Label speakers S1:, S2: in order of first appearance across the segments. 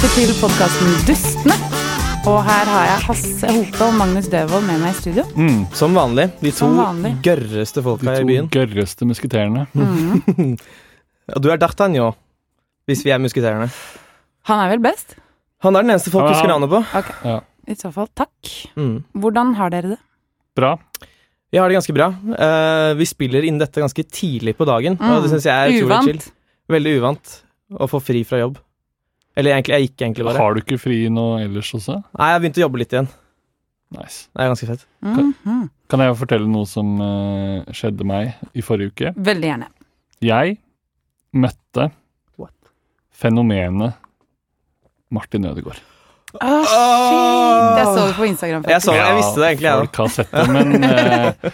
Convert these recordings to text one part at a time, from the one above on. S1: podkasten Dustene. Og her har jeg Hasse Hope og Magnus Døvold med meg i studio.
S2: Som vanlig. De to
S1: Som vanlig.
S2: gørreste folka i
S3: De
S2: byen.
S3: to gørreste musketerene.
S2: Og du er D'Artagnan, hvis vi er musketerene.
S1: Han er vel best?
S2: Han er den eneste folk
S3: Ja.
S2: husker navnet på.
S1: Ok,
S3: Ja.
S1: I så fall, takk.
S2: Mm.
S1: Hvordan har dere det?
S3: Bra.
S2: Vi har det ganske bra. Eh, vi spiller inn dette ganske tidlig på dagen, og det syns jeg er utrolig chill.
S1: Mm. Uvant.
S2: Veldig uvant å få fri fra jobb. Eller egentlig, jeg gikk egentlig bare.
S3: Har du ikke fri nå ellers også?
S2: Nei, jeg har begynt å jobbe litt igjen.
S3: Nice.
S2: Det er ganske fett.
S1: Mhm.
S3: Kan jeg fortelle noe som eh, skjedde meg i forrige uke?
S1: Veldig gjerne.
S3: Jeg møtte
S2: What?
S3: fenomenet Martin Ødegaard.
S1: Å,
S2: Ah!
S1: shit! Jeg så det på Instagram.
S2: Jeg så det, jeg visste det egentlig, jeg
S3: Folk har sett det, men, eh,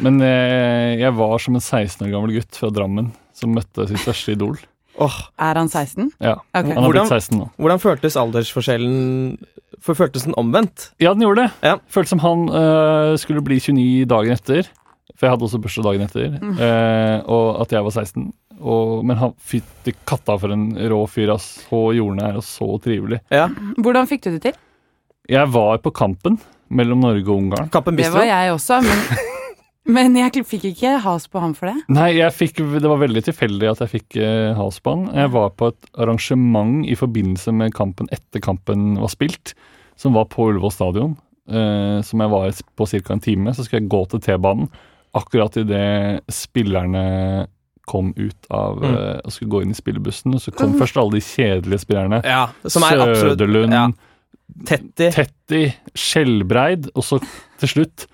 S3: men eh, jeg var som en 16 år gammel gutt fra Drammen som møtte sitt største idol.
S2: da. Åh,
S1: Er han 16?
S3: Ja,
S1: Ok.
S3: Han har
S2: Hvordan-
S3: blitt 16 nå.
S2: Hvordan føltes aldersforskjellen For føltes den omvendt?
S3: Ja, den gjorde det.
S2: Ja.
S3: Føltes som han øh, skulle bli 29 dagen etter. For jeg hadde også bursdag dagen etter, øh, og at jeg var 16. Og, men han fytti katta for en rå fyr, ass. Så jordnær og så trivelig.
S2: Ja.
S1: Hvordan fikk du det til?
S3: Jeg var på kampen mellom Norge og Ungarn.
S2: Kampen
S1: Det
S2: bistro?
S1: var jeg også, men, men jeg fikk ikke has på ham for det.
S3: Nei, jeg fikk, det var veldig tilfeldig at jeg fikk øh, has på han. Jeg var på et arrangement i forbindelse med kampen etter kampen var spilt, som var på Ullevål stadion. øh, som jeg var på ca. en time. Så skulle jeg gå til T-banen akkurat idet spillerne kom ut av
S2: Mm.
S3: øh, og skulle gå inn i spillebussen. Og så kom
S1: Mm.
S3: først alle de kjedelige spillerne.
S2: Ja, som er absolutt
S3: Søderlund,
S2: ja. 30.
S3: Tetty, Skjelbreid, og så til slutt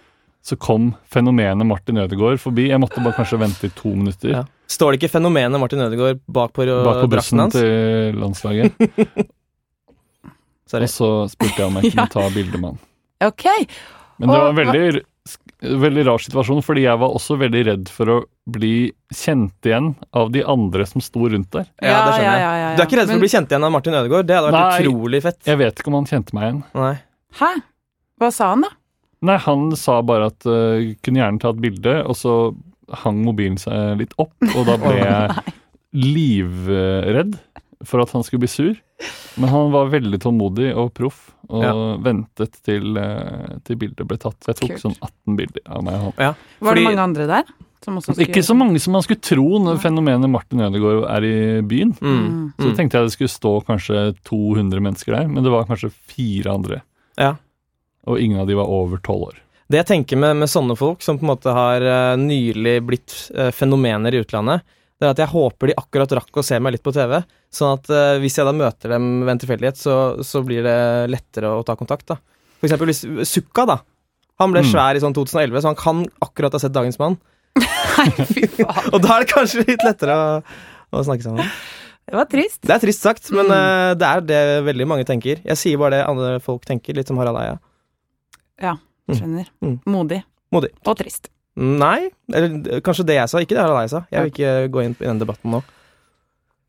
S3: så kom fenomenet Martin Ødegaard forbi. Jeg måtte bare kanskje vente i to minutter
S2: Ja. Står det ikke fenomenet Martin Ødegaard bak på eh,
S3: bak på
S2: drakten
S3: bussen
S2: hans?
S3: til landslaget.
S2: Sorry.
S3: Og så spurte jeg om jeg kunne
S1: Ja.
S3: ta bilde med han.
S1: Ok,
S3: Men det var
S1: Og
S3: en veldig, veldig rar situasjon, fordi jeg var også veldig redd for å bli kjent igjen av de andre som sto rundt der.
S2: Ja, det skjønner
S1: ja,
S2: jeg.
S1: ja, ja.
S2: Du er ikke redd for
S1: Men-
S2: å bli kjent igjen av Martin Ødegaard? Det hadde vært
S3: Nei.
S2: utrolig fett.
S3: Jeg vet ikke om han kjente meg igjen.
S2: Nei.
S1: Hæ? Hva sa han, da?
S3: Nei, han sa bare at uh, kunne gjerne ta et bilde, og så hang mobilen seg litt opp, og da ble jeg livredd for at han skulle bli sur. Men han var veldig tålmodig og proff, og
S2: Ja.
S3: ventet til, uh, til bildet ble tatt. Jeg tok
S1: Kult.
S3: sånn 18 bilder av meg. og
S1: Var
S3: han.
S2: Fordi-
S1: det mange andre der? Som også skulle-
S3: Ikke så mange som man skulle tro når fenomenet Martin Ødegaard er i byen.
S2: Mm.
S1: Mm.
S3: Så
S2: Mm.
S3: tenkte jeg det skulle stå kanskje 200 mennesker der, men det var kanskje fire andre.
S2: Ja.
S3: Og ingen av de var over tolv år.
S2: Det jeg tenker med, med sånne folk som på en måte har eh, nylig blitt eh, fenomener i utlandet, det er at jeg håper de akkurat rakk å se meg litt på TV. Sånn at eh, hvis jeg da møter dem ved en tilfeldighet, så, så blir det lettere å ta kontakt. da. For eksempel hvis Sukka, da. Han ble
S3: Mm.
S2: svær i sånn 2011, så han kan akkurat ha sett Dagens Mann.
S1: Nei, fy faen.
S2: Og da er det kanskje litt lettere å, å snakke sammen.
S1: Det var trist.
S2: Det er trist sagt,
S1: Mm.
S2: men eh, det er det veldig mange tenker. Jeg sier bare det andre folk tenker, litt som Harald Eia.
S1: Skjønner.
S2: Mm.
S1: Modig.
S2: Modig.
S1: Og trist.
S2: Nei, eller eh, kanskje det jeg sa, ikke det Harald Eia sa. Jeg vil ikke gå inn i den debatten nå.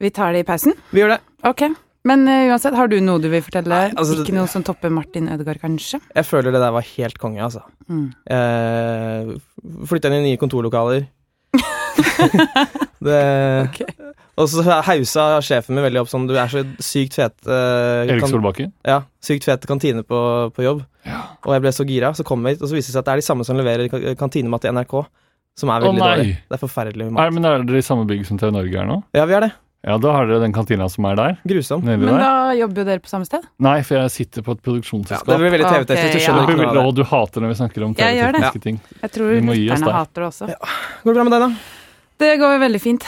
S1: Vi tar det i pausen.
S2: Vi gjør det.
S1: Ok. Men eh, uansett, har du noe du vil fortelle?
S2: Nei, altså, det-
S1: ikke noe som topper Martin Ødegaard, kanskje?
S2: Jeg føler det der var helt konge, altså.
S1: Mm.
S2: Eh, Flytta inn i nye kontorlokaler. det,
S1: Ok.
S2: Og så hausa sjefen min veldig opp sånn Du er så sykt fet eh,
S3: Erik
S2: kan-
S3: Solbakken.
S2: Ja, sykt fet kantine på, på jobb. Og jeg ble så gira, så kom jeg hit, og så viste det seg at det er de samme som leverer ka- kantinemat til NRK. Som er
S3: Å,
S2: veldig
S3: nei.
S2: dårlig. Det er forferdelig
S3: Nei,
S2: mat.
S3: men Er dere i samme bygg som TV Norge er nå?
S2: Ja, vi er det.
S3: Ja, da har dere den kantina som er der.
S2: Grusom.
S3: Nede
S1: Men
S3: der.
S1: da jobber jo dere på samme sted?
S3: Nei, for jeg sitter på et
S2: Ja, det
S3: produksjonsselskap.
S2: blir veldig
S1: Ah, Ok,
S2: TV-testet, du
S3: Det
S2: skjønner
S1: ja.
S3: blir
S2: ikke noe
S3: veldig-
S2: av det.
S3: Å, du hater når vi snakker om
S1: Jeg gjør det.
S3: TV-tekniske ting.
S1: Jeg tror
S3: Vi må gi oss
S1: lytterne
S3: der.
S1: hater det også.
S2: Går det bra med deg, da?
S1: Det går jo veldig fint.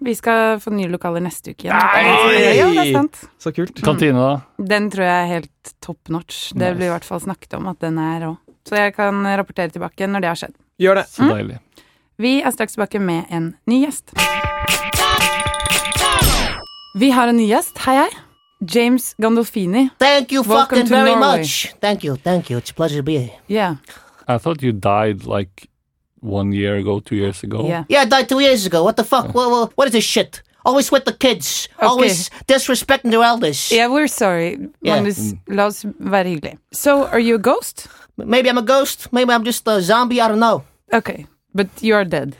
S1: Vi skal få nye lokaler neste uke igjen.
S2: Nei!
S1: Ja, det er sant.
S2: Så kult.
S3: Kantina,
S1: Mm.
S3: da?
S1: Den tror jeg er helt top notch. Det
S3: Nice.
S1: blir i hvert fall snakket om at den er rå. Så jeg kan rapportere tilbake når det har skjedd.
S2: Gjør det.
S3: Så deilig.
S1: Vi er straks tilbake med en ny gjest. Vi har en ny gjest. Hei, hei. James Gandolfini.
S4: Thank you
S1: Welcome
S4: fucking
S1: to
S4: very
S1: Norway.
S4: much. Thank you, thank you. It's a pleasure to be here.
S1: Yeah.
S3: I thought you died like one year ago, two years ago.
S1: yeah.
S4: Yeah, I died two years ago. What the
S1: Mm.
S4: fuck? Wha- wha- what is this shit? Always with the kids. Always disrespecting their elders.
S1: Yeah, we're sorry.
S4: Yeah.
S1: Magnus, la oss være hyggelig. So, are you a ghost?
S4: Maybe I'm a ghost. Maybe I'm just a zombie. I don't know.
S1: Okay, but you're dead.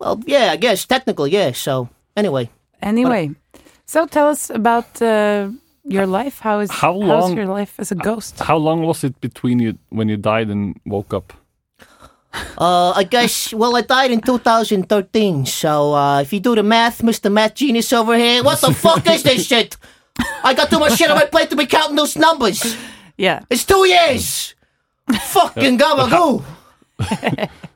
S4: Well, yeah, I guess technically, yeah. So anyway,
S1: Anyway, so tell us about uh, Your life? How is
S3: How
S1: how's
S3: long-
S1: your life as a ghost?
S3: How long was it between you when you died and woke up?
S4: Uh, I guess, well, I died in 2013, so uh, if you do the math, Mr. Math Genius over here, what the fuck is this shit? I got too much shit on my plate to be counting those numbers.
S1: Yeah.
S4: It's two years! Fucking gabagoo!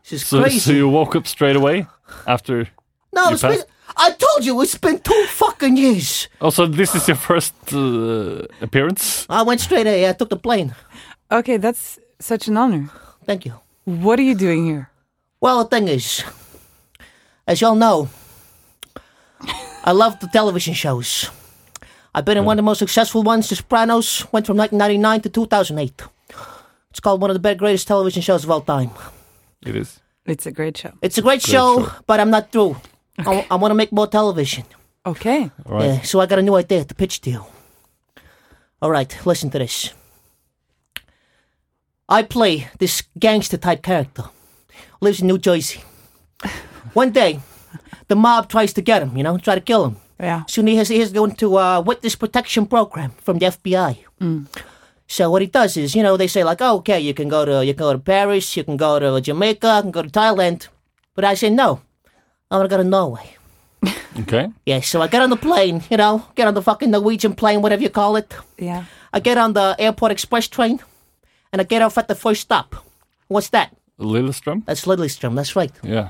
S4: this is
S3: So,
S4: crazy.
S3: so you woke up straight away after.
S4: no,
S3: you
S4: it's been,
S3: passed?
S4: I told you, it's been two fucking years.
S3: Oh, so this is your first uh, appearance?
S4: I went straight A, I took the plane.
S1: Okay, that's such an honor.
S4: Thank you.
S1: What are you doing here?
S4: Well, the thing is, as y'all know, I love the television shows. I've been in one of the most successful ones, The Sopranos, went from 1999 to 2008. It's called one of the best, greatest television shows of all time.
S3: It is.
S1: It's a great show.
S4: It's a great, show, but I'm not through. I, want to make more television.
S1: Okay.
S3: All right.
S4: Yeah, so I got a new idea to pitch to you. All right, listen to this. I play this gangster type character. Lives in New Jersey. One day, the mob tries to get him, you know, try to kill him.
S1: Yeah.
S4: Soon he has, he has going to uh, witness protection program from the FBI. So what he does is, you know, they say like, oh, okay, you can go to you can go to Paris, you can go to Jamaica, you can go to Thailand, but I say no, I want to go to Norway.
S3: Okay.
S4: Yeah, so I get on the plane, you know, get on the fucking Norwegian plane, whatever you call it.
S1: Yeah.
S4: I get on the airport express train, and I get off at the first stop. What's that?
S3: Lillestrøm?
S4: That's Lillestrøm. That's right.
S3: Yeah.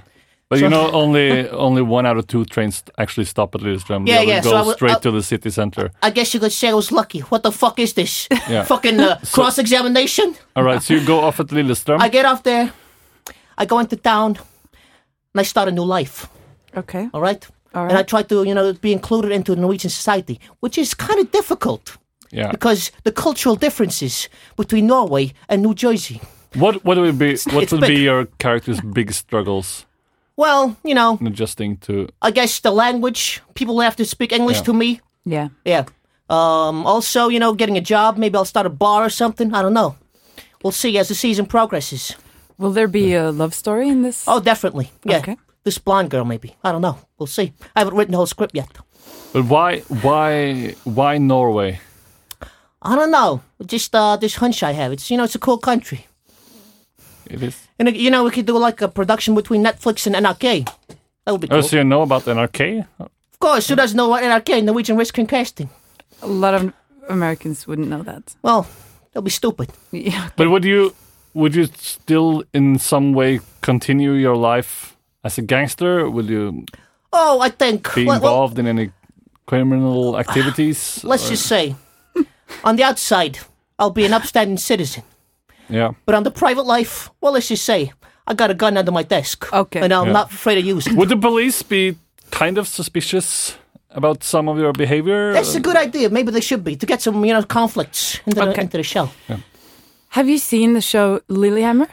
S3: But you know, only only one out of two trains actually stop at Lillestrøm.
S4: Yeah,
S3: they
S4: yeah,
S3: Go
S4: so I was-
S3: straight
S4: I-
S3: to the city center.
S4: I guess you could say I was lucky. What the fuck is this?
S3: Yeah.
S4: Fucking uh, cross examination.
S3: All right. So you go off at Lillestrøm.
S4: I get off there, I go into town, and I start a new life.
S1: Okay.
S4: All right.
S1: All
S4: And I
S1: right.
S4: try to, you know, be included into the Norwegian society, which is kind of difficult
S3: yeah.
S4: because the cultural differences between Norway and New Jersey.
S3: What what would be what
S4: it's
S3: would
S4: big.
S3: be your character's biggest struggles
S4: Well, you know,
S3: in adjusting to?
S4: I guess the language. People have to speak English
S3: Yeah.
S4: to me.
S1: Yeah.
S4: Yeah. Um, also, you know, getting a job. Maybe I'll start a bar or something. I don't know. We'll see as the season progresses.
S1: Will there be a love story in this?
S4: Oh, definitely. Yeah.
S1: Okay.
S4: This blonde girl, maybe. I don't know. We'll see. I haven't written the whole script yet.
S3: But why why why Norway?
S4: I don't know. Just uh, this hunch I have. It's you know, it's a cool country.
S3: It is.
S4: And uh, you know, we could do like a production between Netflix and NRK. That would be cool.
S3: Oh, so you know about NRK?
S4: Of course, who doesn't know what NRK, Norwegian Risk Casting?
S1: A lot of Americans wouldn't know that.
S4: Well, they'll be stupid.
S1: Yeah.
S3: But would you would you still in some way continue your life as a gangster? Will you
S4: Oh, I think.
S3: be
S4: well- well,
S3: involved in any criminal activities?
S4: Let's just say, on the outside, I'll be an upstanding citizen.
S3: yeah.
S4: But on the private life, well, let's just say, I got a gun under my desk.
S1: Okay.
S4: And I'm
S3: Yeah.
S4: not afraid to use it.
S3: Would the police be kind of suspicious about some of your behavior?
S4: That's a good idea. Maybe they should be to get some, you know, conflicts into, the,
S1: Okay.
S4: into the show.
S1: Have you seen the show Lilyhammer?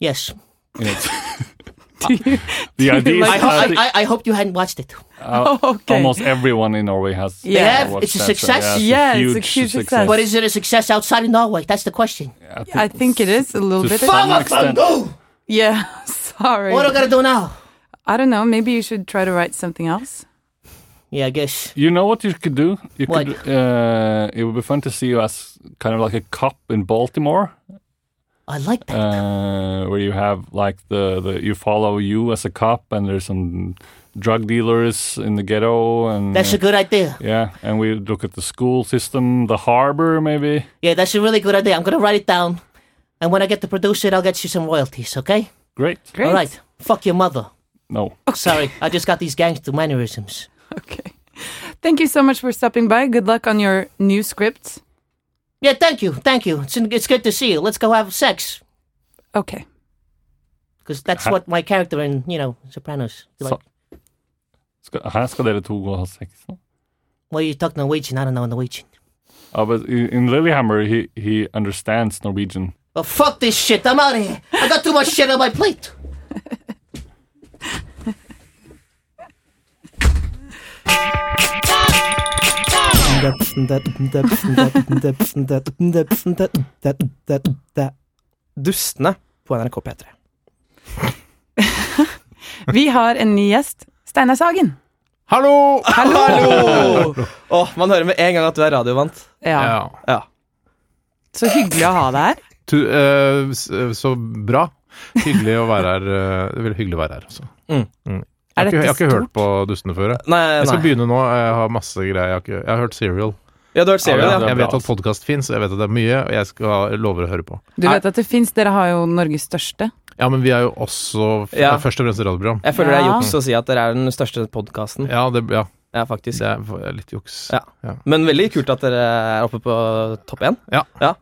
S4: Yes.
S3: You know,
S1: Do you?
S3: the idea is
S1: like-
S4: I, ho-
S3: I
S4: I,
S3: think
S4: I, oh, I hope you hadn't watched it.
S1: okay.
S3: almost everyone in Norway has.
S1: Yeah. They have.
S3: watched
S4: It's a
S3: that show.
S4: success.
S1: Yeah, it's a huge success.
S4: But is it a success outside of Norway? That's the question.
S1: I think it is a little
S3: to
S1: bit.
S3: some extent.
S4: What
S1: Yeah. Sorry.
S4: do I got to do now?
S1: I don't know. Maybe you should try to write something else.
S4: Yeah, I guess.
S3: You know what you could do? You
S4: What?
S3: could. Uh, it would be fun to see you as kind of like a cop in Baltimore,
S4: I like that.
S3: uh, where you have like the, the you follow you as a cop, and there's some drug dealers in the ghetto, and
S4: That's a good idea.
S3: yeah, and we look at the school system, the harbor, maybe.
S4: Yeah, that's a really good idea. I'm going to write it down. And when I get to produce it, I'll get you some royalties, okay?
S3: Great.
S1: Great.
S4: All right. Fuck your mother.
S3: No.
S4: Sorry, I just got these gangster mannerisms.
S1: Okay. Thank you so much for stopping by. Good luck on your new script.
S4: Yeah, thank you, thank you. It's, it's good to see you. Let's go have sex.
S1: Okay.
S4: Because that's what my character in, you know, Sopranos. Like,
S3: Så- Skal, her skal dere to gå og ha sex. nå?
S4: well, you talk Norwegian, I don't know Norwegian.
S3: Ja, but in in Lilyhammer, he, he understands Norwegian.
S4: Well, fuck this shit, I'm out of here. I got too much shit on my plate.
S2: Dustene på NRK P3.
S1: Vi har en ny gjest. Steinar Sagen.
S5: Hallo!
S2: Hallo! Åh, man hører med en gang at du er radiovant.
S1: Ja.
S5: Ja.
S2: Ja.
S1: Så hyggelig å ha deg her.
S5: Tu, eh, s- eh, så bra. Hyggelig å være her. eh, Det er veldig hyggelig å være her også.
S2: Mm.
S5: Jeg,
S1: Er
S5: har ikke, jeg har
S1: dette
S5: ikke hørt på Dustene før. Jeg,
S2: Nei,
S5: jeg skal
S2: Eh, nei.
S5: begynne nå. Jeg har masse greier. Jeg har, ikke, jeg har hørt Serial.
S2: Ja, du har
S3: Ja,
S2: hørt Serial,
S3: det
S2: ja.
S3: er
S5: Jeg
S3: bra,
S5: vet at
S3: altså.
S5: podkast fins, jeg vet at det er mye, og jeg skal jeg lover å høre på.
S1: Du vet at det fins, dere har jo Norges største.
S5: Ja, men vi er jo også f
S2: Ja.
S5: først og fremst et radioprogram.
S2: Jeg føler det er
S1: Ja.
S2: juks å si at dere er den største podkasten.
S5: Ja, det, ja,
S2: Ja, faktisk.
S5: det er litt juks.
S2: Ja. Men veldig kult at dere er oppe på topp én.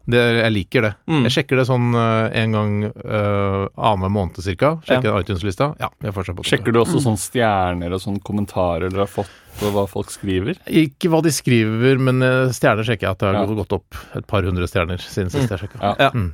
S5: Det, jeg liker det.
S2: Mm.
S5: Jeg sjekker det sånn eh, en gang uh, annenhver måned cirka. Sjekker iTunes-lista. Ja, vi er fortsatt på topp.
S3: Sjekker du også sånn stjerner og sånn kommentarer dere har fått, og hva folk skriver?
S5: Ikke hva de skriver, men eh, stjerner sjekker jeg at det har
S3: Ja.
S5: gått opp et par hundre stjerner siden sist jeg sjekka.
S3: Ja.
S2: Ja.
S5: Mm.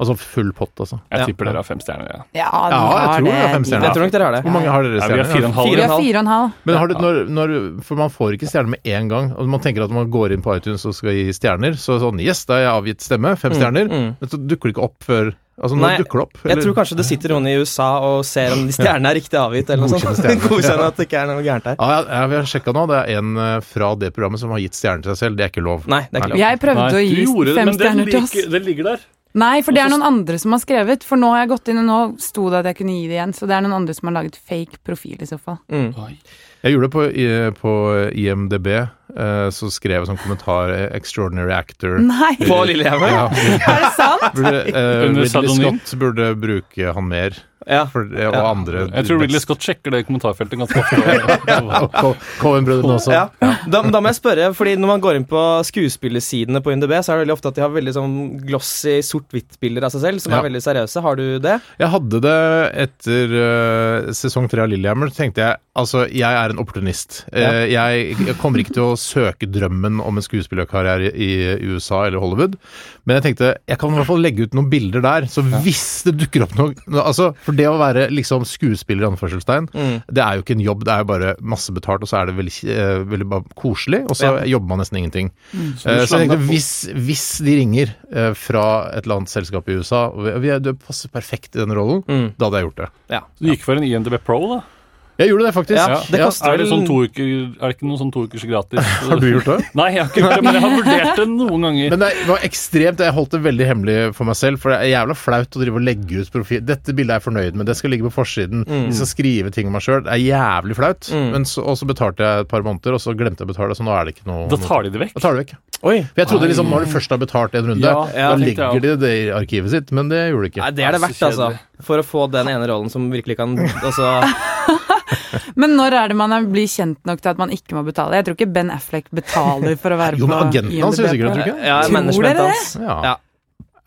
S5: Altså full pott, altså.
S3: Jeg
S2: Ja.
S3: tipper dere har fem stjerner. Ja.
S1: Ja,
S5: Ja, jeg tror det er fem stjerner.
S2: Jeg tror nok dere har det.
S5: Hvor mange har dere
S3: Nei, vi
S5: stjerner?
S3: har fire og en halv.
S1: Vi
S2: Fire.
S1: har fire og en halv.
S5: Men har du, når, når, for man får ikke stjerner med en gang. Og man tenker at man går inn på iTunes og skal gi stjerner, så sånn Yes, da har jeg avgitt stemme. Fem stjerner.
S2: mm.
S5: Men så dukker det ikke opp før Altså, når
S2: Nei,
S5: dukker det opp?
S2: Jeg tror kanskje det sitter noen i USA og ser om de stjernene er riktig avgitt, eller noe
S5: Godkjenner
S2: sånt.
S5: stjernene.
S2: Godkjenner at det ikke er noe gærent her.
S5: Ja, jeg, jeg har sjekka nå. Det er en eh, fra det programmet som har gitt stjerner til seg selv. Det er ikke lov.
S2: Nei, det er ikke lov.
S1: Jeg prøvde å gi fem stjerner til oss.
S3: ligger der.
S1: Nei, for det er noen andre som har skrevet. For nå har jeg gått inn, og nå sto det at jeg kunne gi det igjen. Så det er noen andre som har laget fake profil, i så fall.
S2: Mm.
S5: Jeg gjorde det på, i- på IMDb. eh, så skrev jeg sånn kommentar eh, 'Extraordinary actor'.
S1: Nei!
S2: På Lillehammer?
S5: Ja,
S1: Er det sant?
S5: burde, eh,
S3: Under
S5: Ridley
S3: pseudonym.
S5: Scott burde bruke han mer,
S2: Ja.
S5: for, eh, og
S2: Ja.
S5: andre
S3: Jeg tror Ridley Scott sjekker det kommentarfeltet ganske ofte.
S5: Cohen-brødrene også.
S2: Ja. Da, da må jeg spørre, fordi når man går inn på skuespillersidene på UNDB, så er det veldig ofte at de har veldig sånn glossy sort-hvitt-bilder av seg selv, som
S5: Ja.
S2: er veldig seriøse. Har du det?
S5: Jeg hadde det etter eh, sesong tre av Lillehammer. Så tenkte jeg altså, jeg er en opportunist. Eh, jeg, jeg kommer ikke til å søke drømmen om en skuespillerkarriere i, i USA eller Hollywood. Men jeg tenkte jeg kan i hvert fall legge ut noen bilder der, så hvis det dukker opp noe no- altså, For det å være liksom skuespiller, i anførselstegn, det er jo ikke en jobb, det er jo bare masse betalt, og så er det veldig, eh, veldig bare koselig, og så jobber man nesten ingenting. Eh, Så jeg tenkte, hvis, hvis de ringer eh, fra et eller annet selskap i USA og vi- vi er- Du passer perfekt i den rollen, da hadde jeg gjort det.
S3: Du gikk for en E INDB Pro, da.
S5: Jeg gjorde det, faktisk.
S2: Ja, det koster
S3: er, det
S2: vel-
S3: sånn to uker, er det ikke noe sånn to ukers gratis?
S5: Har du gjort det?
S3: Nei, jeg har ikke gjort det, men jeg har vurdert det noen ganger.
S5: Men det var ekstremt, jeg holdt det veldig hemmelig for meg selv, for det er jævla flaut å drive og legge ut profil. Dette bildet er jeg fornøyd med, det skal ligge på forsiden. Jeg skal skrive ting om meg sjøl. Det er jævlig flaut. Men så, og så betalte jeg et par måneder, og så glemte jeg å betale, så nå er det ikke noe
S3: Da tar de det vekk.
S5: Da tar du vekk.
S2: Oi.
S5: For jeg trodde liksom, når du først har betalt en runde,
S3: Ja,
S5: da
S2: ja,
S3: tenkte jeg
S5: legger de det i arkivet sitt, men det gjorde de ikke.
S2: Nei, det er det
S3: Nei,
S2: verdt,
S3: så
S2: altså.
S3: kjedelig.
S2: For å få den ene rollen som virkelig kan altså,
S1: Men når er det man er- blir kjent nok til at man ikke må betale? Jeg tror ikke Ben Affleck betaler for å være
S5: Jo, men
S1: på
S5: agenten hans gjør
S1: IMDb.
S5: sikkert det, tror
S2: ja,
S1: Tror
S2: management
S1: dere det?
S2: hans.
S5: jeg. Ja.
S2: Ja.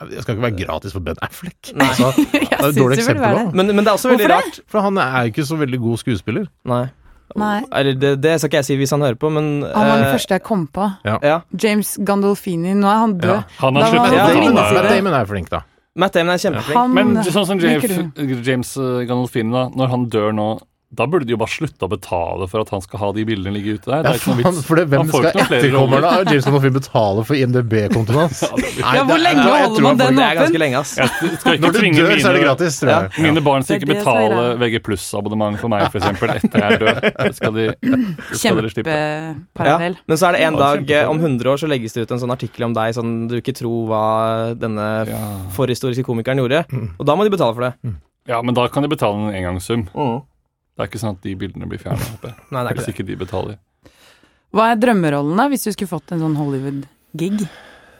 S5: Det skal ikke være gratis for Ben Affleck.
S2: Nei.
S5: Altså,
S1: synes
S5: det er et dårlig
S1: det burde
S5: eksempel
S1: være
S5: òg.
S2: Men, men det er også veldig
S1: Hvorfor
S2: rart.
S5: For han er jo ikke så veldig god skuespiller.
S2: Nei.
S1: Nei.
S2: Eller det, det skal ikke jeg si hvis han hører på, men
S1: Han var den
S2: eh,
S1: første jeg kom på.
S2: ja.
S1: James Gandolfini. Nå er han død.
S5: Ja.
S3: Han
S1: Da
S3: har
S1: var det
S3: sluttet å
S5: Matt Damon,
S1: minnes jeg
S3: betale.
S5: Matt
S1: det.
S5: Damon er flink, da.
S2: Matt Damon er kjempeflink.
S1: Han
S3: Men sånn som James,
S1: liker du.
S3: James eh, Gandolfini, da. Når han dør nå, da burde de jo bare slutte å betale for at han skal ha de bildene ligge ute der. Det
S5: Ja,
S3: er ikke noe
S5: faen,
S3: vits.
S5: for det, hvem
S3: Han får
S5: skal
S3: ikke noen flere
S5: etterkomme
S3: roller.
S5: da? James Bonfim betaler for IMDb-kontoen hans. Nei,
S1: Ja, hvor
S5: det-
S1: lenge
S5: jeg tror
S1: holder man
S5: han
S1: den
S5: får-
S2: Det er ganske lenge, ass.
S3: Jeg skal ikke
S5: Når du
S3: tvinge
S5: dør, så er det
S3: mine-
S5: gratis, tror jeg.
S3: Mine barn
S1: Det
S3: skal
S1: er
S3: ikke
S1: det som er
S3: betale
S1: greia.
S3: VG abonnement for meg, f.eks. etter jeg er død. Det skal de, det skal dere slippe.
S2: Ja.
S1: Kjempeparallell.
S2: Men så er det en
S3: Ja,
S2: dag eh, om
S3: kjempeparallell.
S2: 100 år så legges det ut en sånn artikkel om deg sånn du ikke tror hva denne
S3: Ja.
S2: forhistoriske komikeren gjorde.
S5: Mm.
S2: Og da må de betale for det.
S3: ja, men da kan de betale en engangssum.
S2: Mm.
S3: Det er ikke sånn at de bildene blir fjerna.
S2: Nei, det er
S3: Hvis ikke
S2: ikke det.
S3: de betaler.
S1: Hva er drømmerollen, da, hvis du skulle fått en sånn Hollywood-gig?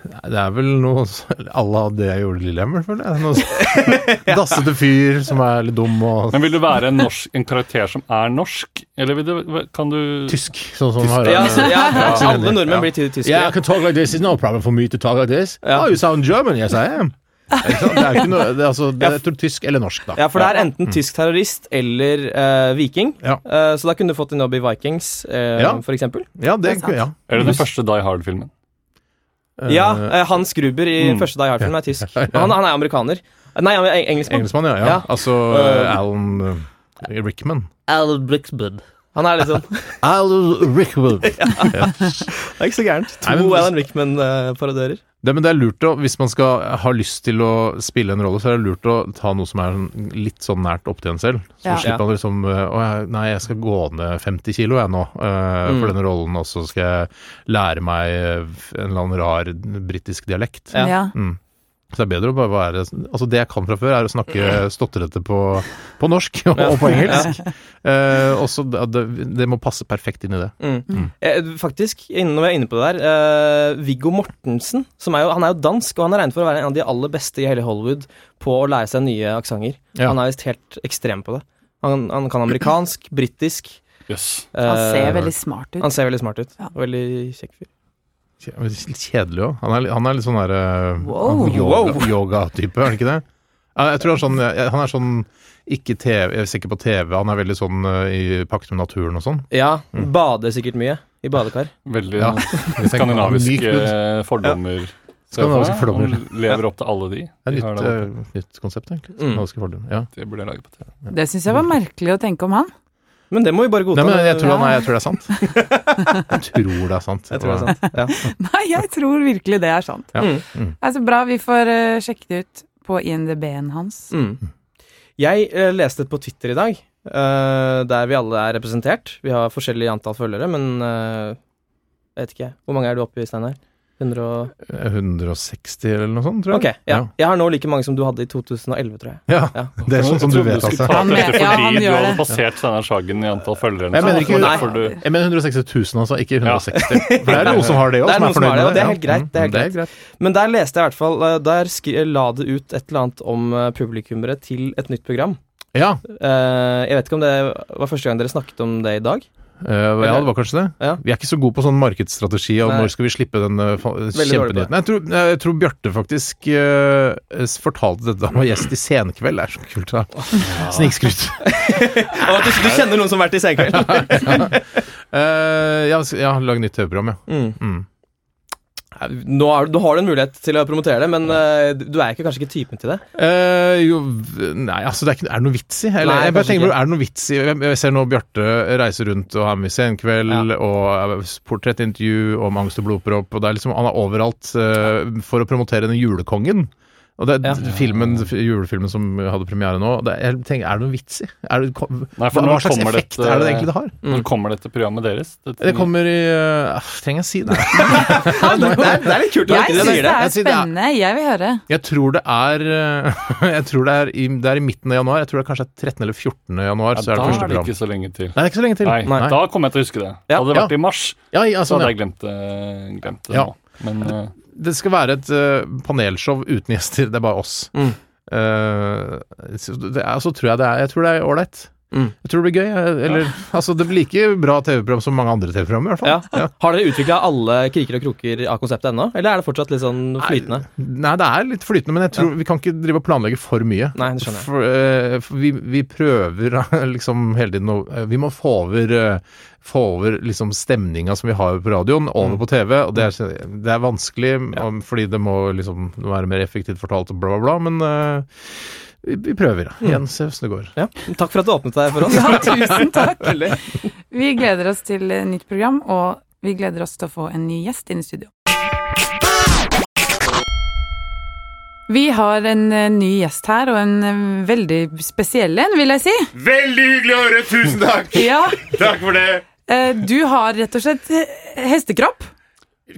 S5: Nei, Det er vel noe s- à la det jeg gjorde i Lillehammer, føler jeg. Noe s- dassete fyr som er litt dum og
S3: Men vil du være en, norsk, en karakter som er norsk, eller vil du, kan du
S5: tysk, sånn som Harald.
S3: altså,
S2: Ja, så, ja,
S5: Ja.
S2: alle nordmenn blir ty- tyskere.
S5: Yeah, I can talk like this. It's no problem for me to talk like this.
S2: Ja.
S5: Oh, you sound German. Yes, I am. Ikke sant? Det er ikke noe, det er altså, det er, jeg tror tysk eller norsk, da.
S2: Ja, for det er enten tysk terrorist eller eh, viking.
S5: Mm. Ja.
S2: Eh, så da kunne du fått en jobb i Vikings, eh,
S5: Ja.
S2: for eksempel.
S5: Ja, det,
S1: Det er sant.
S5: ja.
S3: Er det den første Die Hard-filmen?
S5: Eh,
S2: Ja, eh, Hans Gruber i
S3: Mm.
S2: første Die Hard-film er tysk. Men Han, han er amerikaner. Nei, han er eng- engelskmann.
S5: Engelskmann, ja. ja.
S2: Ja.
S5: Altså
S2: Eh,
S5: Alan eh, Altså, Rickman.
S4: Alan Brixman.
S2: Han er litt sånn Det
S5: Alan Rickman.
S2: er ikke så gærent. To
S5: Nei, men-
S2: Alan eh, Rickman-parodører.
S5: Det, men det er lurt å, Hvis man skal ha lyst til å spille en rolle, så er det lurt å ta noe som er sånn- litt sånn nært opp til en selv. Så
S1: Ja.
S5: slipper man liksom eh, Å jeg- nei, jeg skal gå ned 50 kilo jeg nå eh, for denne rollen, og så skal jeg lære meg eh, en eller annen rar britisk dialekt.
S2: Ja.
S1: Ja.
S5: Mm. Så det er bedre å bare være Altså det jeg kan fra før, er å snakke stotrete på, på norsk og, og på engelsk. Eh, også, det, det må passe perfekt inn i det.
S2: Mm. Eh, faktisk, innen- når jeg er inne på det der eh, Viggo Mortensen, som er jo, han er jo dansk, og han er regnet for å være en av de aller beste i hele Hollywood på å lære seg nye aksenter.
S5: Ja.
S2: Han er visst helt ekstrem på det. Han, han kan amerikansk, britisk
S3: Jøss.
S2: eh,
S1: Han ser veldig smart ut.
S2: han ser veldig smart ut.
S1: Ja.
S2: Og Veldig kjekk fyr.
S5: Kje- men Litt kjedelig òg. Han, er- han er litt sånn derre
S1: Wow.
S5: yoga-type, er han ikke det? Ja, Jeg tror han er sånn, jeg- han er sånn ikke TV, jeg ser ikke på TV, han er veldig sånn eh, i pakt med naturen og sånn.
S2: Ja, Mm. bader sikkert mye. I badekar.
S3: Veldig
S5: Ja. Myk
S3: skandinaviske
S5: hud.
S3: fordommer.
S5: Skandinaviske fordommer.
S3: Han lever opp til alle de.
S5: Det er
S3: de
S5: et
S3: har
S5: nytt,
S3: det, der borte.
S5: eh, nytt konsept, egentlig.
S2: Mm.
S5: Skandinaviske fordommer. Ja.
S3: det burde jeg lage på TV.
S1: Det syns jeg var merkelig å tenke om han.
S2: Men det må vi bare godta.
S5: Nei, men jeg tror,
S1: Ja.
S5: nei, jeg tror det er sant. Jeg tror det er sant.
S2: Jeg tror det er sant. Ja.
S1: Nei, jeg tror virkelig det er sant.
S5: Ja.
S2: Mm.
S1: Altså, bra, vi får eh, sjekke det ut på INDB-en hans.
S2: Mm. Jeg eh, leste det på Twitter i dag, eh, der vi alle er representert. Vi har forskjellig antall følgere, men eh, jeg vet ikke. Hvor mange er du oppe i, Steinar? 100 og...
S5: 160 eller noe sånt, tror
S2: Ok,
S5: jeg.
S2: ja. Jeg har nå like mange som du hadde i 2011, tror jeg.
S5: Ja.
S2: Ja.
S5: Det er sånn som du
S3: Jeg trodde
S5: vet,
S3: skulle
S5: altså.
S3: ta
S1: Han
S3: opp dette
S1: vet- ja, han
S3: fordi du
S1: gjør
S3: hadde
S1: det.
S3: passert Steinar Sagen i antall følgere. eller
S5: Jeg mener
S3: noe sånt.
S5: ikke-
S3: Derfor du-
S1: Nei.
S5: Jeg mener 160 000, altså, ikke 160. For det er noen som har det òg,
S2: Det er
S5: som
S2: noen
S5: er
S2: som
S5: fornøyd
S2: har det,
S5: med
S2: og det er
S5: Ja.
S2: helt greit, det er
S5: Mm,
S2: helt Men der leste jeg i hvert fall eh, Der skri la det ut et eller annet om eh, publikummere til et nytt program.
S5: Ja,
S2: Eh, jeg vet ikke om det var første gang dere snakket om det i dag.
S5: eh, ja, det var kanskje det.
S2: Ja.
S5: Vi er ikke så gode på sånn markedsstrategi og
S2: Nei.
S5: når skal vi slippe den eh, fa-
S2: dårlig på det.
S5: kjempenyheten. Jeg, tror- jeg tror Bjarte faktisk eh, s- fortalte dette da han var gjest i Senkveld. Det er så kult, da. Snikskryt.
S2: Å, du, du kjenner noen som har vært i Senkveld?
S5: Eh, ja, s- ja, lag nytt TV-program, ja.
S2: Mm.
S5: Mm.
S2: Nei, Nå har, nå har du en mulighet til å promotere det, men eh, du er ikke, kanskje ikke typen til det.
S5: Eh, jo, v- nei, altså det er, ikke, er det noe vits i? Eller,
S2: Nei,
S5: jeg bare
S2: kanskje
S5: tenker,
S2: ikke.
S5: er det noe vits i? Jeg jeg ser nå Bjarte reiser rundt og har med seg en kveld, og eh, portrettintervju om angst og blodpropp, og det er liksom, han er overalt eh, for å promotere den julekongen. Og det er
S2: Ja.
S5: filmen, f- julefilmen som hadde premiere nå, det, jeg tenker, er det noe vits i? Er det, kom,
S3: Nei, for
S5: hva
S3: når
S5: slags
S3: kommer
S5: effekt
S3: dette-
S5: er det egentlig det har?
S2: Mm.
S3: Når kommer dette programmet deres? Dette-
S5: Det kommer i, eh, ah, trenger jeg si
S2: det,
S5: det?
S2: er, det er litt
S1: Jeg
S2: kult at du ikke
S1: syns
S2: sier
S1: det
S2: det.
S1: er
S5: Jeg sier det er-
S1: spennende. Jeg vil høre.
S5: Jeg tror det er eh, Jeg tror det er i, det er i midten av januar. Jeg tror det er kanskje 13. eller 14. januar.
S3: Ja,
S5: så er det
S3: da
S5: første
S3: er det
S5: program.
S3: ikke så lenge til.
S5: Nei, det er ikke så lenge til.
S3: Nei, da kommer jeg til å huske det.
S2: Ja.
S3: Hadde det vært i mars,
S5: Ja, ja,
S3: så
S5: sånn,
S3: hadde
S5: ja.
S3: jeg glemt det, glemt det
S5: Ja.
S3: nå. Men eh,
S5: Det skal være et eh, panelshow uten gjester. Det er bare oss.
S2: Mm.
S5: Eh, så det er, så tror jeg det er Jeg tror det er ålreit.
S2: Mm.
S5: Jeg tror det blir gøy. eh, Eller altså, det blir like bra TV-program som mange andre TV-program, i hvert fall.
S2: Ja. Har dere utvikla alle kriker og kroker av konseptet ennå, eller er det fortsatt litt sånn flytende?
S5: Nei, det er litt flytende, men jeg tror vi kan ikke drive og planlegge for mye.
S2: Nei, det skjønner jeg.
S5: For, eh, for vi, vi prøver liksom hele tiden å eh, Vi må få over, eh, få over liksom stemninga som vi har på radioen,
S2: Mm.
S5: over på TV. Og det er, det er vanskelig om- fordi det må liksom være mer effektivt fortalt og bla, bla, bla. Men eh, vi, vi prøver. da.
S2: Mm.
S5: Igjen, se hvordan det går.
S2: Ja. Takk for at du åpnet deg for oss.
S1: Ja, tusen takk.
S2: Veldig.
S1: Vi gleder oss til eh, nytt program, og vi gleder oss til å få en ny gjest inn i studio. Vi har en eh, ny gjest her, og en eh, veldig spesiell en, vil jeg si.
S6: Veldig hyggelig å høre. Tusen takk.
S1: Ja,
S6: Takk for det.
S1: eh, Du har rett og slett eh, hestekropp.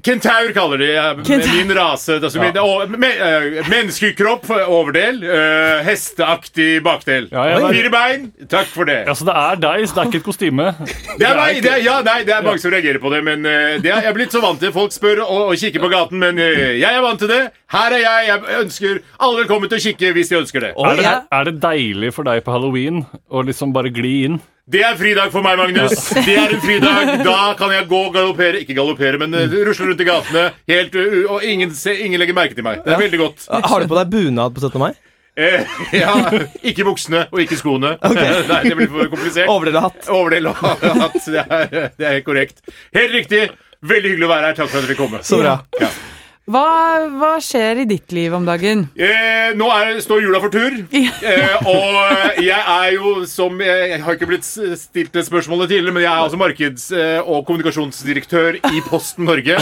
S6: Kentaur kaller de eh,
S1: Kentaur.
S6: min rase. Altså, min, å, me, eh, menneskekropp, eh, overdel. eh, hesteaktig bakdel.
S3: Ja, ja, det er-
S6: Fire bein. Takk for det.
S3: altså, det er deg, så det er ikke et kostyme.
S6: Det er, meg, det er, ja, nei, det er mange som reagerer på det, men eh, det er, jeg er blitt så vant til folk spør og, og kikker på gaten, men eh, jeg er vant til det. Her er jeg. Jeg ønsker alle velkommen til å kikke hvis de ønsker det.
S3: Er det,
S1: ja.
S3: er det deilig for deg på halloween å liksom bare gli inn?
S6: Det er fridag for meg, Magnus. Det er en fridag. Da kan jeg gå og galoppere Ikke galoppere, men eh, rusle rundt i gatene. Helt, uh, uh, og ingen, se, ingen legger merke til meg. Det er veldig godt.
S2: Har du på deg bunad på 17. mai?
S6: Eh, ja, ikke buksene og ikke skoene. Nei, det blir for komplisert.
S2: Overdel og hatt.
S6: Overdel og hatt. Det er, det er helt korrekt. Helt riktig. Veldig hyggelig å være her. Takk for at dere kom.
S2: Så bra.
S1: Hva, hva skjer i ditt liv om dagen?
S6: Eh, nå er, står jula for tur. Eh, og jeg er jo som Jeg har ikke blitt s- stilt det spørsmålet tidligere, men jeg er altså markeds- eh, og kommunikasjonsdirektør i Posten Norge.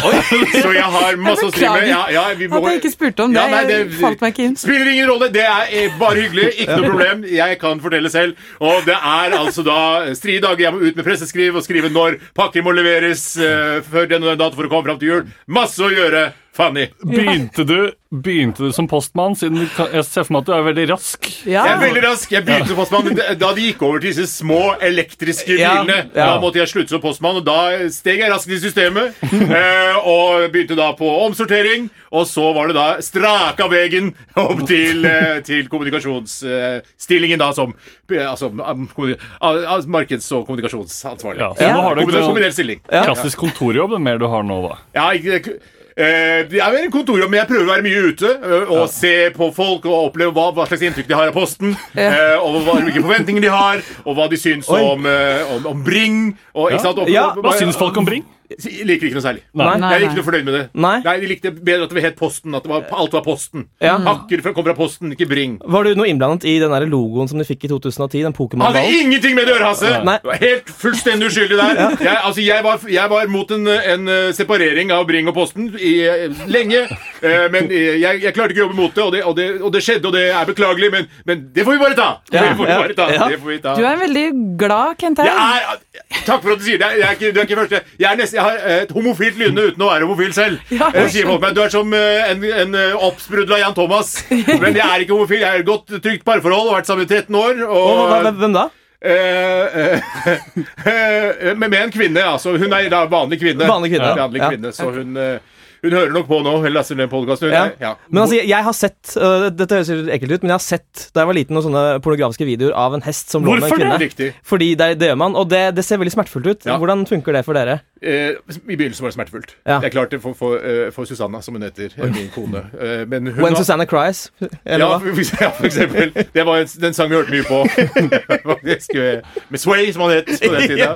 S6: Så jeg har masse å stri med. Ja, ja, vi må-
S1: At jeg ikke spurte om det.
S6: Ja, nei,
S1: Jeg falt meg ikke inn.
S6: Spiller ingen rolle. Det er eh, bare hyggelig. Ikke noe problem. Jeg kan fortelle selv. Og det er altså da strie dager. Jeg må ut med presseskriv og skrive når pakker må leveres eh, før den og den dato for å komme fram til jul. Masse å gjøre. Fanny.
S3: Begynte du, begynte du som postmann, siden du, kan- jeg ser for meg at du er veldig rask?
S1: Ja.
S6: Jeg er veldig rask. Jeg begynte som postmann, men det- da de gikk over til disse små elektriske
S2: Ja,
S6: bilene,
S2: ja.
S6: da måtte jeg slutte som postmann, og da steg jeg raskt i systemet, eh, og begynte da på omsortering, og så var det da straka veien opp til, eh, til kommunikasjonsstillingen da som eh, altså, am- kommuni- al- al- markeds- og kommunikasjonsansvarlig.
S3: Ja, så
S1: Ja.
S3: nå har du
S6: Kombinert,
S3: ikke
S6: kombinert stilling.
S3: noen klassisk kontorjobb mer du har nå, da.
S6: Ja, ikke, eh, det er vel en kontorjobb, men jeg prøver å være mye ute. eh, og se på folk og oppleve hva, hva slags inntrykk de har av Posten. eh, og hva, hvilke forventninger de har, og hva de syns
S2: Oi.
S6: om, eh, om, om Bring. Og, ikke sant? Og,
S2: Ja,
S3: Hva syns folk om Bring?
S6: Jeg liker ikke noe særlig.
S3: Nei.
S1: Nei,
S6: jeg er
S1: nei.
S6: ikke noe fornøyd med det.
S2: Nei.
S6: De likte bedre at det het Posten. At det var, alt var Posten.
S2: Ja.
S6: Pakker fra- kom fra Posten, ikke Bring.
S2: Var du noe innblandet i den der logoen som de fikk i 2010? Den
S6: Hadde
S2: Pokémon-ballen?
S6: ingenting med det å gjøre, Hasse!
S2: Nei.
S6: Du var Helt fullstendig uskyldig der. Jeg, altså, jeg, var, jeg var mot en, en eh, separering av Bring og Posten i, eh, lenge. eh, Men eh, jeg, jeg klarte ikke å jobbe mot det, og det, og det, og det skjedde, og det er beklagelig, men, men det får vi bare ta! Det
S2: Ja,
S6: får vi
S2: ja,
S6: bare ta.
S2: ja.
S6: Det får vi ta.
S1: Du er veldig glad, Kent
S6: Jeg
S1: Haug.
S6: er, takk for at du sier det. Jeg er ikke, du er ikke første. Jeg, er nesten, jeg har eh, et homofilt lynne uten å være homofil selv.
S1: Ja, jeg
S6: Eh, sier folk meg, Du er som eh, en, en eh, oppsprudla Jan Thomas. Men jeg er ikke homofil. Jeg er i et godt, trygt parforhold og har vært sammen i 13 år. Og,
S2: Å, hva- hva- Hvem da?
S6: Eh, eh, eh, Men med en kvinne, altså. Hun er da vanlig kvinne.
S2: Vanlig kvinne, ja.
S6: Vanlig
S2: Ja.
S6: kvinne så hun, eh, hun hører nok på nå. Hun laster ned podkasten.
S2: Ja.
S6: Ja.
S2: Men altså, jeg, jeg har sett øh, Dette høres litt ekkelt ut, men jeg har sett da jeg var liten noen sånne pornografiske videoer av en hest som lå med en
S3: Hvorfor
S2: kvinne.
S6: Riktig.
S2: Fordi det, det gjør man, og det, det ser veldig smertefullt ut.
S6: Ja.
S2: Hvordan funker det for dere?
S6: Eh, I begynnelsen var det smertefullt.
S2: Ja.
S6: Det er klart det for, for, eh, for Susanna, som hun heter. eh, Min kone. Eh, Men hun
S2: When
S6: har-
S2: Susanna Cries? Eller
S6: Ja,
S2: hva?
S6: for, ja, for eksempel. Det var en, den sang vi hørte mye på. Faktisk, eh, Med Sway, som han het på den tida.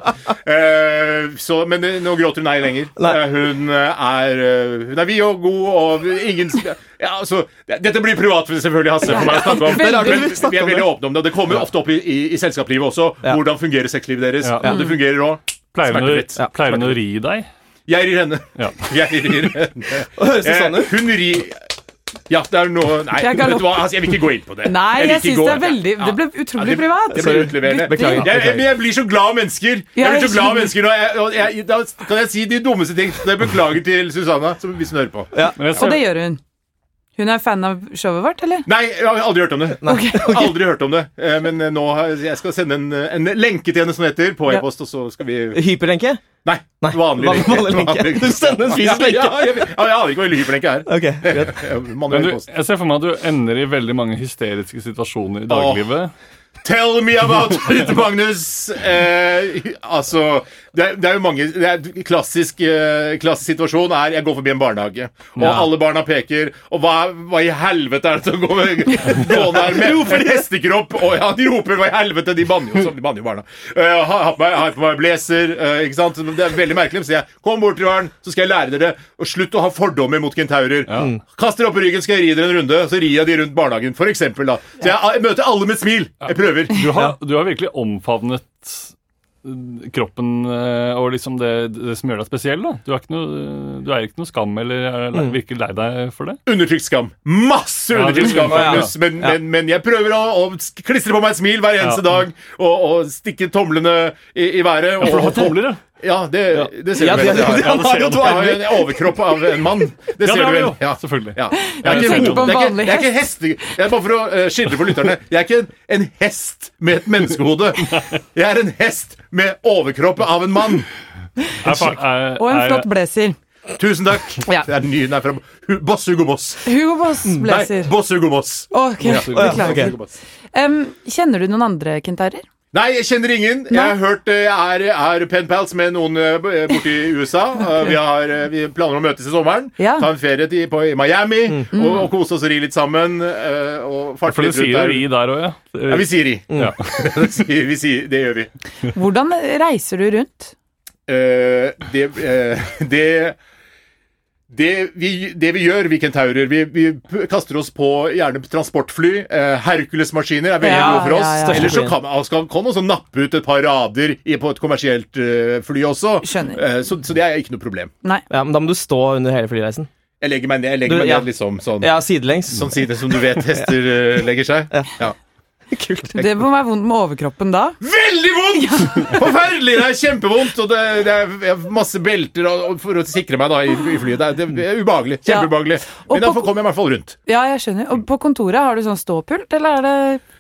S6: Eh, så, men eh, nå gråter hun ei lenger.
S2: Nei.
S6: Eh, hun, eh, er, eh, hun er vid og god og ingen ja, altså, det- Dette blir privat, selvfølgelig, Hasse. For meg å snakke om.
S1: Veldig,
S6: Men,
S2: vi snakker
S6: vi er
S2: om
S6: veldig åpne om det. og Det kommer ofte opp i, i, i selskapslivet også.
S2: Ja.
S6: Hvordan fungerer sexlivet deres?
S3: Ja.
S6: Og det fungerer òg.
S3: Pleier hun å-
S6: Smertefritt. Ja,
S3: pleier hun å ri deg?
S6: Jeg rir henne.
S3: Ja.
S6: Jeg rir henne.
S2: Og høres det
S6: Eh,
S2: sånn ut?
S6: hun rir Ja, det er noe Nei,
S1: Jeg kan-
S6: vet du hva? Altså, jeg vil ikke gå inn på det.
S1: Nei,
S6: vil
S1: jeg
S6: ikke
S1: syns
S6: gå-
S1: det er veldig
S6: Ja.
S1: Det ble
S6: Ja,
S1: utrolig
S6: det-
S1: privat.
S6: Det blir utleverende.
S2: Beklager.
S6: Jeg, jeg, jeg blir så glad av mennesker. Jeg blir så glad av mennesker og jeg, og jeg, Da kan jeg si de dummeste ting. Så jeg beklager til Susanna, som hvis hun hører på.
S3: Men jeg
S1: Og det
S3: ser,
S1: gjør hun. Hun er fan av showet vårt, eller?
S6: Nei, jeg har aldri hørt om det. Aldri hørt om det Eh, Men eh, nå har- jeg skal sende en, eh, en lenke til henne som heter, på
S1: Ja.
S6: e-post, og så skal vi
S2: Hyperlenke?
S6: Nei,
S2: Nei,
S6: vanlig lenke.
S2: vanlig lenke. Du sender en fysisk lenke.
S6: Ja, ja, jeg, ja, Ah, jeg aner ikke hva hyperlenke er.
S2: Ok, greit.
S6: Eh,
S3: men
S6: Manuell
S3: du,
S6: post.
S3: jeg ser for meg at du ender i veldig mange hysteriske situasjoner i daglivet.
S6: Tell me about it, Magnus! Eh, altså det er, det er jo mange det er klassisk, eh, klassisk situasjon er jeg går forbi en barnehage, og
S3: Ja.
S6: alle barna peker Og hva, hva i helvete er det som går gå der med roper hestekropp? Og ja, de roper hva i helvete! De banner jo som de banner jo barna. Eh, har, har, på meg, har på meg blazer, eh, ikke sant? Det er veldig merkelig. Så jeg kom bort til barn, så skal jeg lære dere å slutte å ha fordommer mot kentaurer. Mm. Kast dere opp i ryggen, skal jeg ri dere en runde, så rir jeg de rundt barnehagen, for eksempel, da. Så jeg, jeg møter alle med et smil. Jeg prøver.
S3: Du har, du har virkelig omfavnet eh, kroppen eh, og liksom det, det som gjør deg spesiell. da. Du er ikke noe, du er ikke noe skam eller er
S1: Mm.
S3: lei- virker lei deg for det.
S6: Undertrykt skam. Masse
S3: det-
S6: undertrykt skam,
S3: ja, ja.
S6: Magnus. Men, men, men jeg prøver å, å sk- klistre på meg et smil hver eneste
S3: Ja.
S6: dag og, og stikke tomlene i, i været.
S3: For du
S6: Og,
S3: har tomler, ja.
S6: ja, det, det ser
S2: Ja,
S6: du
S2: det-
S6: vel.
S2: det-
S6: Ja,
S3: han har jo to
S6: Jeg har en overkropp av en mann.
S3: Ja,
S6: Det ser
S3: det
S6: du
S3: har du
S6: vel.
S3: jo. Selvfølgelig.
S6: Ja. Jeg er
S3: Jeg
S6: ikke,
S3: tenker på
S1: en
S6: det er ikke,
S1: vanlig
S6: jeg er ikke hest. Jeg er bare for å eh, skildre for lytterne. Jeg er ikke en, en hest med et menneskehode. Jeg er en hest med overkropp av en mann.
S3: Er, fa- er,
S1: Og en
S3: er-
S1: flott blazer.
S6: Tusen takk.
S1: Ja.
S6: Det er ny, den er fra Hu- Boss Hugo Boss.
S1: Hugo Boss
S6: Mm, Nei,
S1: blazer.
S6: Boss Hugo Boss.
S1: Ok,
S2: Ja,
S1: beklager.
S2: ok.
S6: Hugo Boss.
S1: Em, kjenner du noen andre kentarer?
S6: Nei, jeg kjenner ingen. Jeg har hørt eh, jeg er, er pen pals med noen eh, borti USA. Eh, Vi, har, eh, vi planer å møtes i sommeren.
S1: Ja.
S6: Ta en ferie til, på, i Miami og, og kose oss og ri litt sammen. eh, Og
S3: Mm. For
S6: farte
S3: du
S6: litt rundt
S3: sier jo
S6: der.
S3: ri der òg, ja.
S6: Ja, vi sier i.
S3: Ja.
S6: Vi sier, vi sier, det gjør vi.
S1: Hvordan reiser du rundt?
S6: Eh, det, eh, det det vi, det vi gjør, vi kentaurer, vi, vi p- kaster oss på gjerne transportfly. Eh, Hercules-maskiner er veldig
S1: Ja,
S6: gode for oss.
S1: ja, ja, ja.
S6: Ellers så kan man skal, kan man også nappe ut et par rader i, på et kommersielt eh, fly også.
S1: Skjønner.
S6: Eh, så, så det er ikke noe problem.
S1: Nei.
S2: Ja, men da må du stå under hele flyreisen.
S6: Jeg legger meg ned,
S2: Du,
S6: jeg legger meg
S2: ja.
S6: ned liksom sånn,
S2: Ja, sidelengs.
S6: sånn side som du vet hester eh, legger seg. Ja.
S2: Kult.
S1: Det må være vondt med overkroppen da.
S6: Veldig vondt! Forferdelig! Det er kjempevondt. Og det, det er jeg har masse belter og, og for å sikre meg da i, i flyet. Det er, det er ubehagelig.
S1: Ja.
S6: Kjempeubehagelig.
S1: Og
S6: Men da
S1: på-
S6: kommer jeg i hvert fall rundt.
S1: Ja, jeg skjønner. Og på kontoret, har du sånn ståpult, eller er det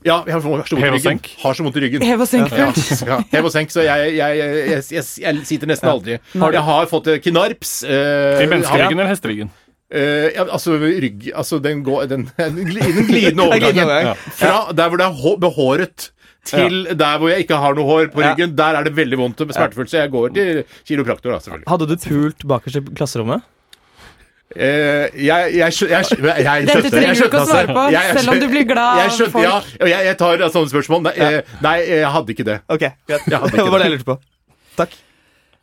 S6: Ja, jeg har så vondt i
S3: Hev og
S6: ryggen.
S3: senk.
S6: Har så vondt i ryggen.
S1: hev og
S6: Ja,
S1: senk-pult?
S6: ja, hev og senk, så jeg, jeg, jeg, jeg, jeg, jeg sitter nesten aldri.
S1: Har du-
S6: Jeg har fått eh, knarps. eh,
S3: I
S6: har jeg-
S3: menneskeryggen eller hesteryggen?
S6: Eh, ja, altså rygg Altså den, går, den, den gli- den glidende
S2: glidende
S6: overgangen.
S2: overgang.
S6: Ja. Fra der hvor det er hå- behåret til der hvor jeg ikke har noe hår på
S2: Ja.
S6: ryggen. Der er det veldig vondt og smertefullt, så jeg går til kiropraktor, da, selvfølgelig.
S2: Hadde du pult bakerst i klasserommet?
S6: Eh, jeg, jeg, skjø- jeg, skjø- jeg, jeg
S1: Dette
S6: skjønte
S1: trenger
S6: jeg
S1: du ikke å
S6: skjønte, altså.
S1: svare på,
S6: Jeg- jeg
S1: selv om
S6: skjø-
S1: du blir glad
S6: jeg
S1: av
S6: skjønne,
S1: folk.
S6: Ja, og jeg, jeg tar sånne spørsmål. Nei, eh, nei, jeg hadde ikke det.
S2: Ok, greit.
S6: Jeg
S2: Det var
S6: hadde ikke
S2: bare det
S6: det.
S2: jeg lurte på. Takk.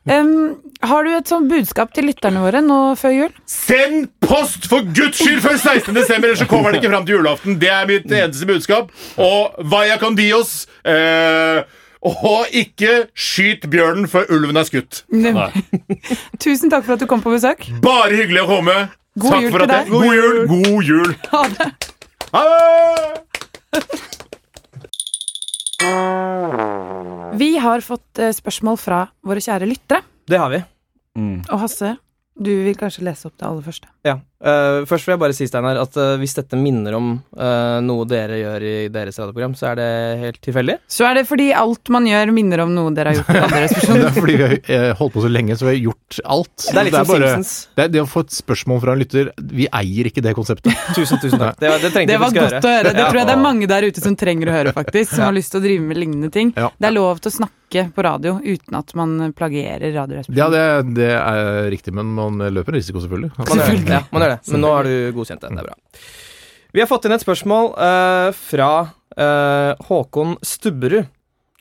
S1: Em, har du et sånt budskap til lytterne våre nå før jul?
S6: Send post for guds skyld før 16. desember, ellers så kommer den ikke fram til julaften. Det er mitt eneste budskap. Og vaya con dios. Eh, og ikke skyt bjørnen før ulven er skutt.
S3: Nei.
S1: Tusen takk for at du kom på besøk.
S6: Bare hyggelig å komme.
S1: God
S6: Takk
S1: jul til
S6: for at jeg-
S1: deg.
S6: God jul. God jul.
S1: Ha det.
S6: Ha det!
S1: Vi har fått eh, spørsmål fra våre kjære lyttere.
S2: Det har vi.
S3: Mm.
S1: Og Hasse, du vil kanskje lese opp det aller første.
S2: Ja. Eh, først vil jeg bare si, Steinar, at eh, hvis dette minner om eh, noe dere gjør i deres radioprogram, så er det helt tilfeldig.
S1: Så er det fordi alt man gjør, minner om noe dere har gjort. i andres person.
S5: Det er fordi vi har eh, holdt på så lenge, så vi har gjort alt.
S2: Det er litt som
S5: bare-
S2: Simpsons.
S5: det, er- det å få et spørsmål fra en lytter Vi eier ikke det konseptet.
S2: Tusen, tusen takk. Det, det
S1: Det
S2: trengte jeg
S1: var
S2: faktisk å høre.
S1: godt å høre. Det
S2: Ja.
S1: tror jeg det er mange der ute som trenger å høre, faktisk. Som har lyst til å drive med lignende ting.
S5: Ja.
S1: Det er lov til å snakke på radio uten at man plagierer
S5: Ja,
S1: Radioresepsjonen.
S5: det, det er riktig, men man løper en risiko, selvfølgelig.
S2: Man gjør det. Ja, man gjør det. Men nå har du godkjent det. Det er bra. Vi har fått inn et spørsmål eh, fra eh, Håkon Stubberud.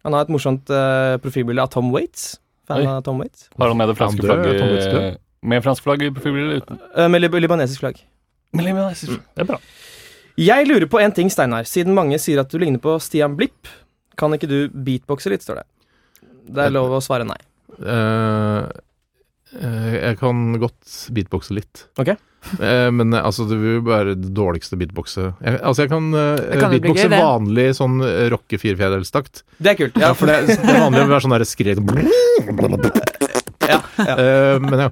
S2: Han har et morsomt eh, profilbilde av Tom Waits. Fan
S3: Oi.
S2: av Tom Waits.
S3: Har han med det franske
S5: Han dør, Tom Waits
S3: flagget?
S5: dør.
S3: Med fransk flagg i profilbildet eller uten? Mm,
S2: Eh, med lib libanesisk flagg.
S3: Det er bra.
S2: Jeg lurer på en ting, Steinar. Siden mange sier at du ligner på Stian Blipp, kan ikke du beatboxe litt, står det. Det er lov å svare nei.
S5: Eh, eh, jeg kan godt beatboxe litt.
S2: Ok.
S5: Eh, men eh, altså, det vil jo være det dårligste beatboxet jeg, Altså, jeg kan, eh,
S1: Det kan jo bli
S5: beatboxe
S1: gøy, det.
S5: vanlig sånn eh, rocke firefjedelstakt.
S2: Det er kult. Ja,
S5: For det, det vanlige vil være sånn derre skrik
S2: Ja, ja.
S5: Eh, Men ja.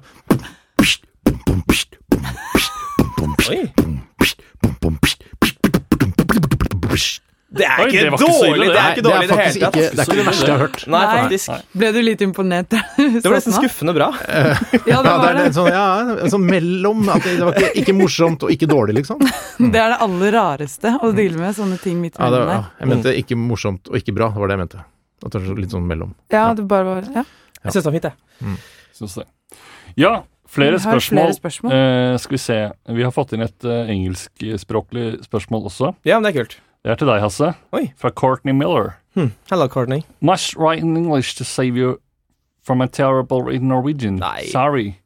S2: Oi. Det er
S3: Oi,
S2: ikke
S3: det var ikke så ille,
S2: dårlig! Det
S3: det.
S2: er ikke dårlig i det hele
S5: faktisk
S2: tatt.
S5: ikke, det er ikke det verste jeg har hørt.
S2: Nei,
S1: Nei.
S2: faktisk.
S1: Ble du litt imponert? Det
S2: Det var nesten skuffende bra.
S1: Ja, det
S5: Ja, det
S1: var
S5: er
S1: det.
S5: en sånn, ja, en sånn mellom. At det, det var ikke, ikke morsomt og ikke dårlig, liksom.
S1: Det er det aller rareste å deale med, sånne ting midt
S5: Ja, det,
S1: imellom
S5: ja,
S1: der.
S5: jeg mente ikke morsomt og ikke bra, det var det jeg mente. At det er så- litt sånn mellom.
S1: Ja, det bare var ja.
S2: Jeg synes det var fint, jeg.
S3: Syns det. Ja, flere
S1: Vi har
S3: spørsmål.
S1: flere spørsmål.
S3: Eh, skal vi se. Vi har fått inn et eh, engelskspråklig spørsmål også.
S2: Ja, men det er kult.
S3: Det er til deg, Hasse.
S2: Oi.
S3: Fra Courtney Miller.
S2: Hello, Courtney.
S3: Must write in English to save you from a terrible in Norwegian.
S2: Nei.
S3: Sorry.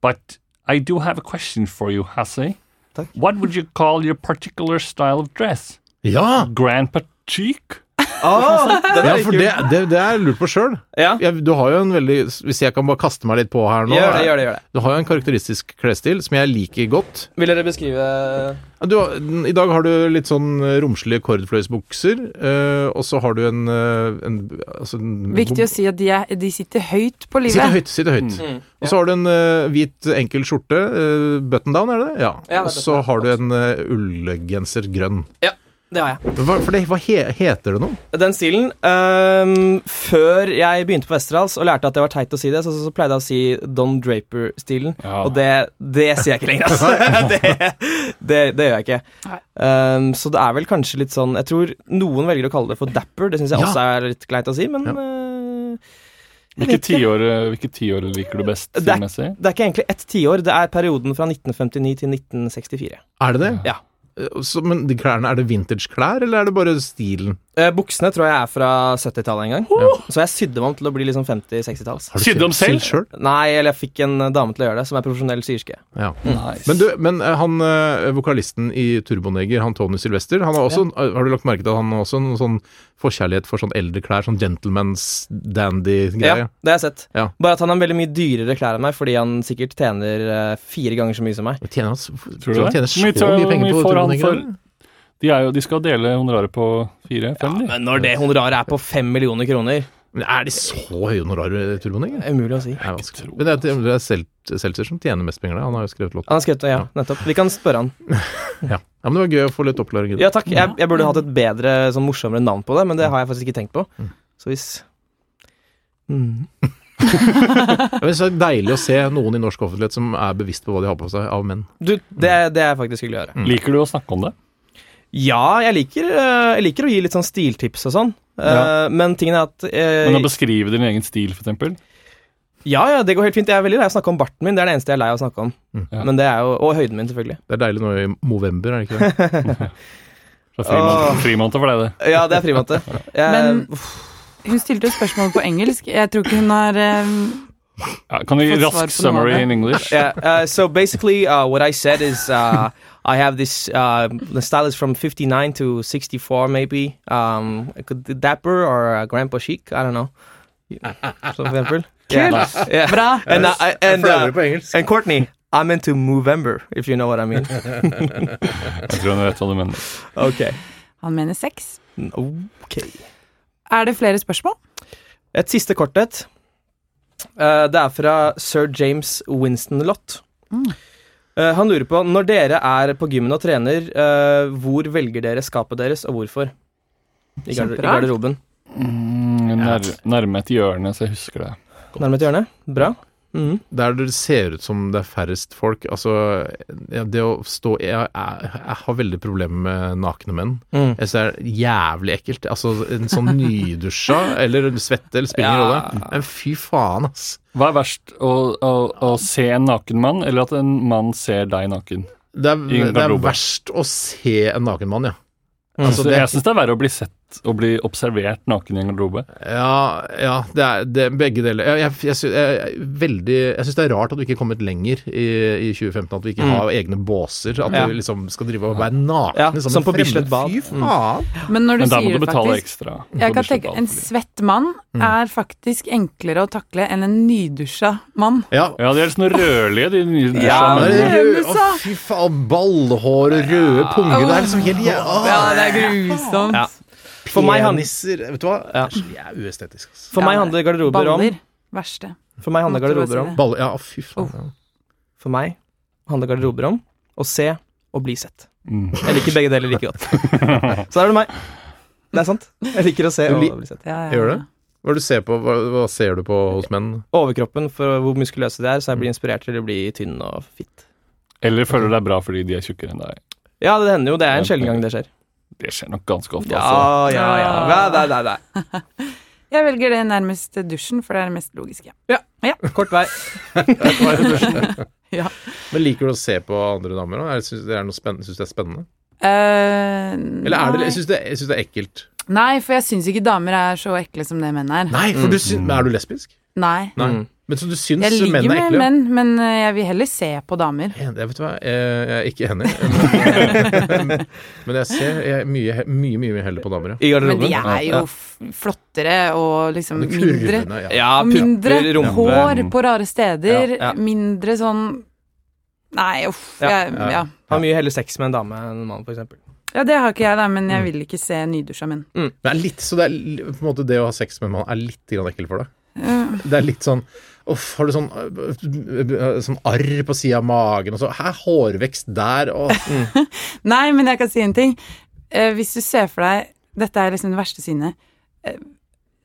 S3: But I do have a question for you, Hasse.
S2: Takk.
S3: What would you call your particular style of dress?
S5: Ja!
S3: Grand Patrick?
S2: Ah, den
S5: Ja, for det, det, det er jeg lurt på sjøl.
S2: Ja,
S5: Du har jo en veldig Hvis jeg kan bare kaste meg litt på her nå
S2: gjør det, gjør det, gjør det.
S5: Du har jo en karakteristisk klesstil som jeg liker godt.
S2: Vil dere beskrive
S5: Ja, Du, har- n- I dag har du litt sånn eh, romslige kordfløyelsbukser, eh, og så har du en, eh, en, altså en
S1: Viktig å si at de, er, de sitter høyt på
S5: Sitte
S1: livet.
S5: høyt, sitte høyt.
S2: Mm.
S5: Og så har du en eh, hvit, enkel skjorte. eh, button down, er det det? Ja.
S2: Ja, det er
S5: og så
S2: button down.
S5: har du en eh, ullgenser grønn.
S2: Det har jeg.
S5: Men Hva, for det, hva he, heter det noe?
S2: Den stilen ehm, Før jeg begynte på Westerdals og lærte at det var teit å si det, så, så, så pleide jeg å si Don Draper-stilen.
S3: Ja.
S2: Og det, det sier jeg ikke lenger, altså. det, det, det gjør jeg ikke.
S1: Nei.
S2: Ehm, så det er vel kanskje litt sånn Jeg tror noen velger å kalle det for dapper. Det syns jeg
S5: Ja.
S2: også er litt greit å si, men
S5: Ja.
S2: eh,
S3: Hvilke tiår, hvilke tiår liker du best?
S2: Det er-
S3: stilmessig?
S2: det er ikke egentlig ett tiår. Det er perioden fra 1959 til 1964.
S5: Er det det?
S2: Ja.
S5: Eh, Så, men de klærne, er det vintage-klær, eller er det bare stilen?
S2: Eh, buksene tror jeg er fra 70-tallet en gang. Så jeg sydde meg om til å bli liksom 50-60-talls.
S5: Har du
S6: Sydde
S5: sydd-
S6: om selv?
S5: sydd sjøl?
S2: Nei, eller jeg fikk en eh, dame til å gjøre det, som er profesjonell syerske.
S5: Ja.
S3: Nice.
S5: Men du, men eh, han eh, vokalisten i Turboneger, han Tony Sylvester, han har også, eh, har du lagt merke til at han har også en sånn forkjærlighet for sånn eldre klær, sånn gentleman's dandy-greie?
S2: Ja, det har jeg sett.
S5: Ja.
S2: Bare at han har veldig mye dyrere klær enn meg, fordi han sikkert tjener eh, fire ganger så mye som meg.
S5: Tjener han s-
S3: Tror
S5: tror
S3: du
S5: du han
S3: det?
S5: tjener så
S3: Mye tror jeg
S5: mye penger
S3: vi
S5: på
S3: får han
S5: Turboneger?
S3: for-
S5: eller?
S3: De, er jo, de skal dele honoraret på fire? Fem, de.
S2: Men når det honoraret er på fem millioner kroner,
S5: Men Er de så høye honorarer, Turboneger?
S2: er umulig å si.
S5: Nei, vanskelig. Men det er, det er Sel- Seltzer som tjener mest penger, da. Han har jo skrevet låten.
S2: Han har skrevet ja, nettopp. Vi kan spørre han.
S5: Ja. ja, men det var gøy å få litt oppklaring. i det.
S2: Ja takk, jeg, jeg burde hatt et bedre, sånn morsommere navn på det, men det har jeg faktisk ikke tenkt på. Så hvis mm.
S5: Ja, men så er det deilig å se noen i norsk offentlighet som er bevisst på hva de har på seg av menn.
S2: Du, det, det er faktisk hyggelig å gjøre.
S3: Liker du å snakke om det?
S2: Ja, jeg liker, eh, jeg liker å gi litt sånn stiltips og sånn, eh,
S3: Ja.
S2: men tingen er at eh,
S3: Men å beskrive din egen stil, for eksempel?
S2: Ja, ja, det går helt fint. Jeg er veldig lei av å snakke om barten min. Det er det eneste jeg er lei av å snakke om.
S3: Ja.
S2: Men det er jo, Og høyden min, selvfølgelig.
S5: Det er deilig nå i november, er det ikke det?
S3: Fra frimåned- frimåned for deg, det.
S2: Ja, det er frimåte.
S1: Men-
S2: Jeg,
S1: Hun stilte jo spørsmål på engelsk. Jeg tror ikke hun har eh,
S3: Ja, kan du gi
S1: Fått svar
S3: rask
S1: på
S3: summary
S1: noe av
S3: in English?
S2: yeah, uh, so basically, uh, what I said is uh, I have this. Uh, the style is from 59 to 64, maybe. Um, I could do Dapper or uh, Grandpa Chic. I don't know. For example. Yeah. yeah.
S1: Bra!
S2: And, uh, I- and, uh,
S5: engelsk.
S2: and Courtney, I'm into Movember, if you know what I mean.
S3: Jeg tror hun vet hva du mener.
S2: Okay.
S1: Han mener sex.
S2: Okay.
S1: Er det flere spørsmål?
S2: Et siste kort et. Eh, det er fra sir James Winston Lott.
S1: Mm.
S2: Eh, han lurer på når dere er på gymmen og trener, eh, hvor velger dere skapet deres, og hvorfor? I, garder I
S1: Kjemperart.
S2: garderoben.
S3: Mm, nær, nærme et hjørne, så jeg husker det.
S2: Nærmet hjørnet. Bra. Mhm.
S5: Der det ser ut som det er færrest folk. Altså, ja, det å stå Jeg, jeg, jeg har veldig problemer med nakne menn.
S2: Mm.
S5: Jeg ser det er jævlig ekkelt. Altså, en sånn nydusja eller svette eller spiller
S2: Ja.
S5: ingen rolle. Men fy faen, ass.
S3: Hva er verst, å, å, å se en naken mann, eller at en mann ser deg naken?
S5: Det er,
S3: I
S5: det er
S3: garderoben.
S5: verst å se en naken mann, ja. Altså,
S3: Mm. Så
S5: det,
S3: jeg syns det er verre å bli sett og bli observert naken i en garderobe.
S5: ja, ja, det er det, er begge deler. Jeg, jeg, jeg, sy- jeg, jeg, veldig, jeg syns det er rart at vi ikke er kommet lenger i, i 2015, at vi ikke har egne båser. At
S2: Mm. Ja.
S5: vi liksom skal drive og være nakne
S2: Ja,
S5: som
S2: som på
S5: en
S2: Bislett Bad. Mm.
S5: Fy faen!
S1: Men når du
S3: Men da må
S1: sier
S3: du
S1: det
S3: betale
S1: faktisk
S3: ekstra.
S1: jeg kan tenke, En svett mann
S5: Mm.
S1: er faktisk enklere å takle enn en nydusja mann.
S5: Ja.
S3: Ja, de er liksom rødlige, de nye dusja
S2: Ja,
S5: Det
S3: mennene.
S5: er rød, å,
S1: Musa.
S5: fy faen, ballhår og røde punger. Det er liksom helt jæ- Åh,
S1: Ja, det er grusomt.
S2: Ja. For meg, han,
S5: peniser Vet du hva?
S2: Ja.
S5: Det er uestetisk, ass.
S2: for meg handler garderober om
S1: Baller. Verste.
S2: For meg handler
S1: Måtte bare si
S2: garderober om
S1: det.
S5: Ball, ja, fy faen. Ja.
S2: For meg handler garderober om å se og bli sett.
S3: Mm.
S2: Jeg liker begge deler like godt. Så der er det meg. Det er sant. Jeg liker å se
S5: Du
S2: og
S5: lik-
S2: bli sett.
S1: Ja, ja,
S5: Gjør
S1: ja.
S5: det? Hva, er det du ser på, hva, hva ser du på hos menn?
S2: overkroppen for hvor muskuløse de er, så jeg blir inspirert til å bli tynn og fitt.
S3: Eller føler deg bra fordi de er tjukkere enn deg.
S2: Ja, det hender jo. Det er en sjelden gang det skjer.
S3: Det skjer nok ganske ofte, altså.
S2: Ja, ja, ja. ja nei, nei, nei.
S1: Jeg velger det nærmest dusjen, for det er det mest logiske.
S2: Kort vei.
S5: Men liker du å se på andre damer òg? Syns du det er noe spennende? Synes du det er spennende?
S1: Eh,
S5: Eller er det,
S1: nei.
S5: jeg syns det, jeg synes det er ekkelt.
S1: Nei, for jeg syns ikke damer er så ekle som det menn er.
S5: Nei, for du syns, men er du lesbisk?
S1: Mm. Nei.
S5: Nei.
S2: Mm.
S5: Men så du syns
S1: Jeg ligger
S5: menn er
S1: med
S5: ekle?
S1: menn, men eh, jeg vil heller se på damer.
S5: Jeg, vet du hva, jeg, jeg er ikke enig. Men jeg ser jeg er mye, he- mye, mye mer heller på damer, ja.
S2: I
S1: Men
S2: garderoben.
S1: de er jo f- flottere og liksom
S5: Men
S1: mindre
S5: kurvene, ja.
S2: Ja,
S1: og
S2: pupper,
S1: Mindre
S2: rumpe.
S1: hår på rare steder.
S2: Ja, ja.
S1: Mindre sånn Nei, uff.
S2: Ja,
S1: Jeg,
S5: ja.
S1: ja.
S2: Har mye heller sex med en dame enn en mann, for eksempel.
S1: ja, det har ikke jeg, da, men jeg vil ikke se nydusja menn.
S5: Det er litt, så det er li- på en måte det å ha sex med en mann er litt grann ekkelt for deg?
S1: Eh,
S5: Det er litt sånn Uff, har du sånn, øh, øh, sånn arr på sida av magen og så Hæ, hårvekst der og
S1: Nei, men jeg kan si en ting. Eh, hvis du ser for deg Dette er liksom det verste synet. Eh,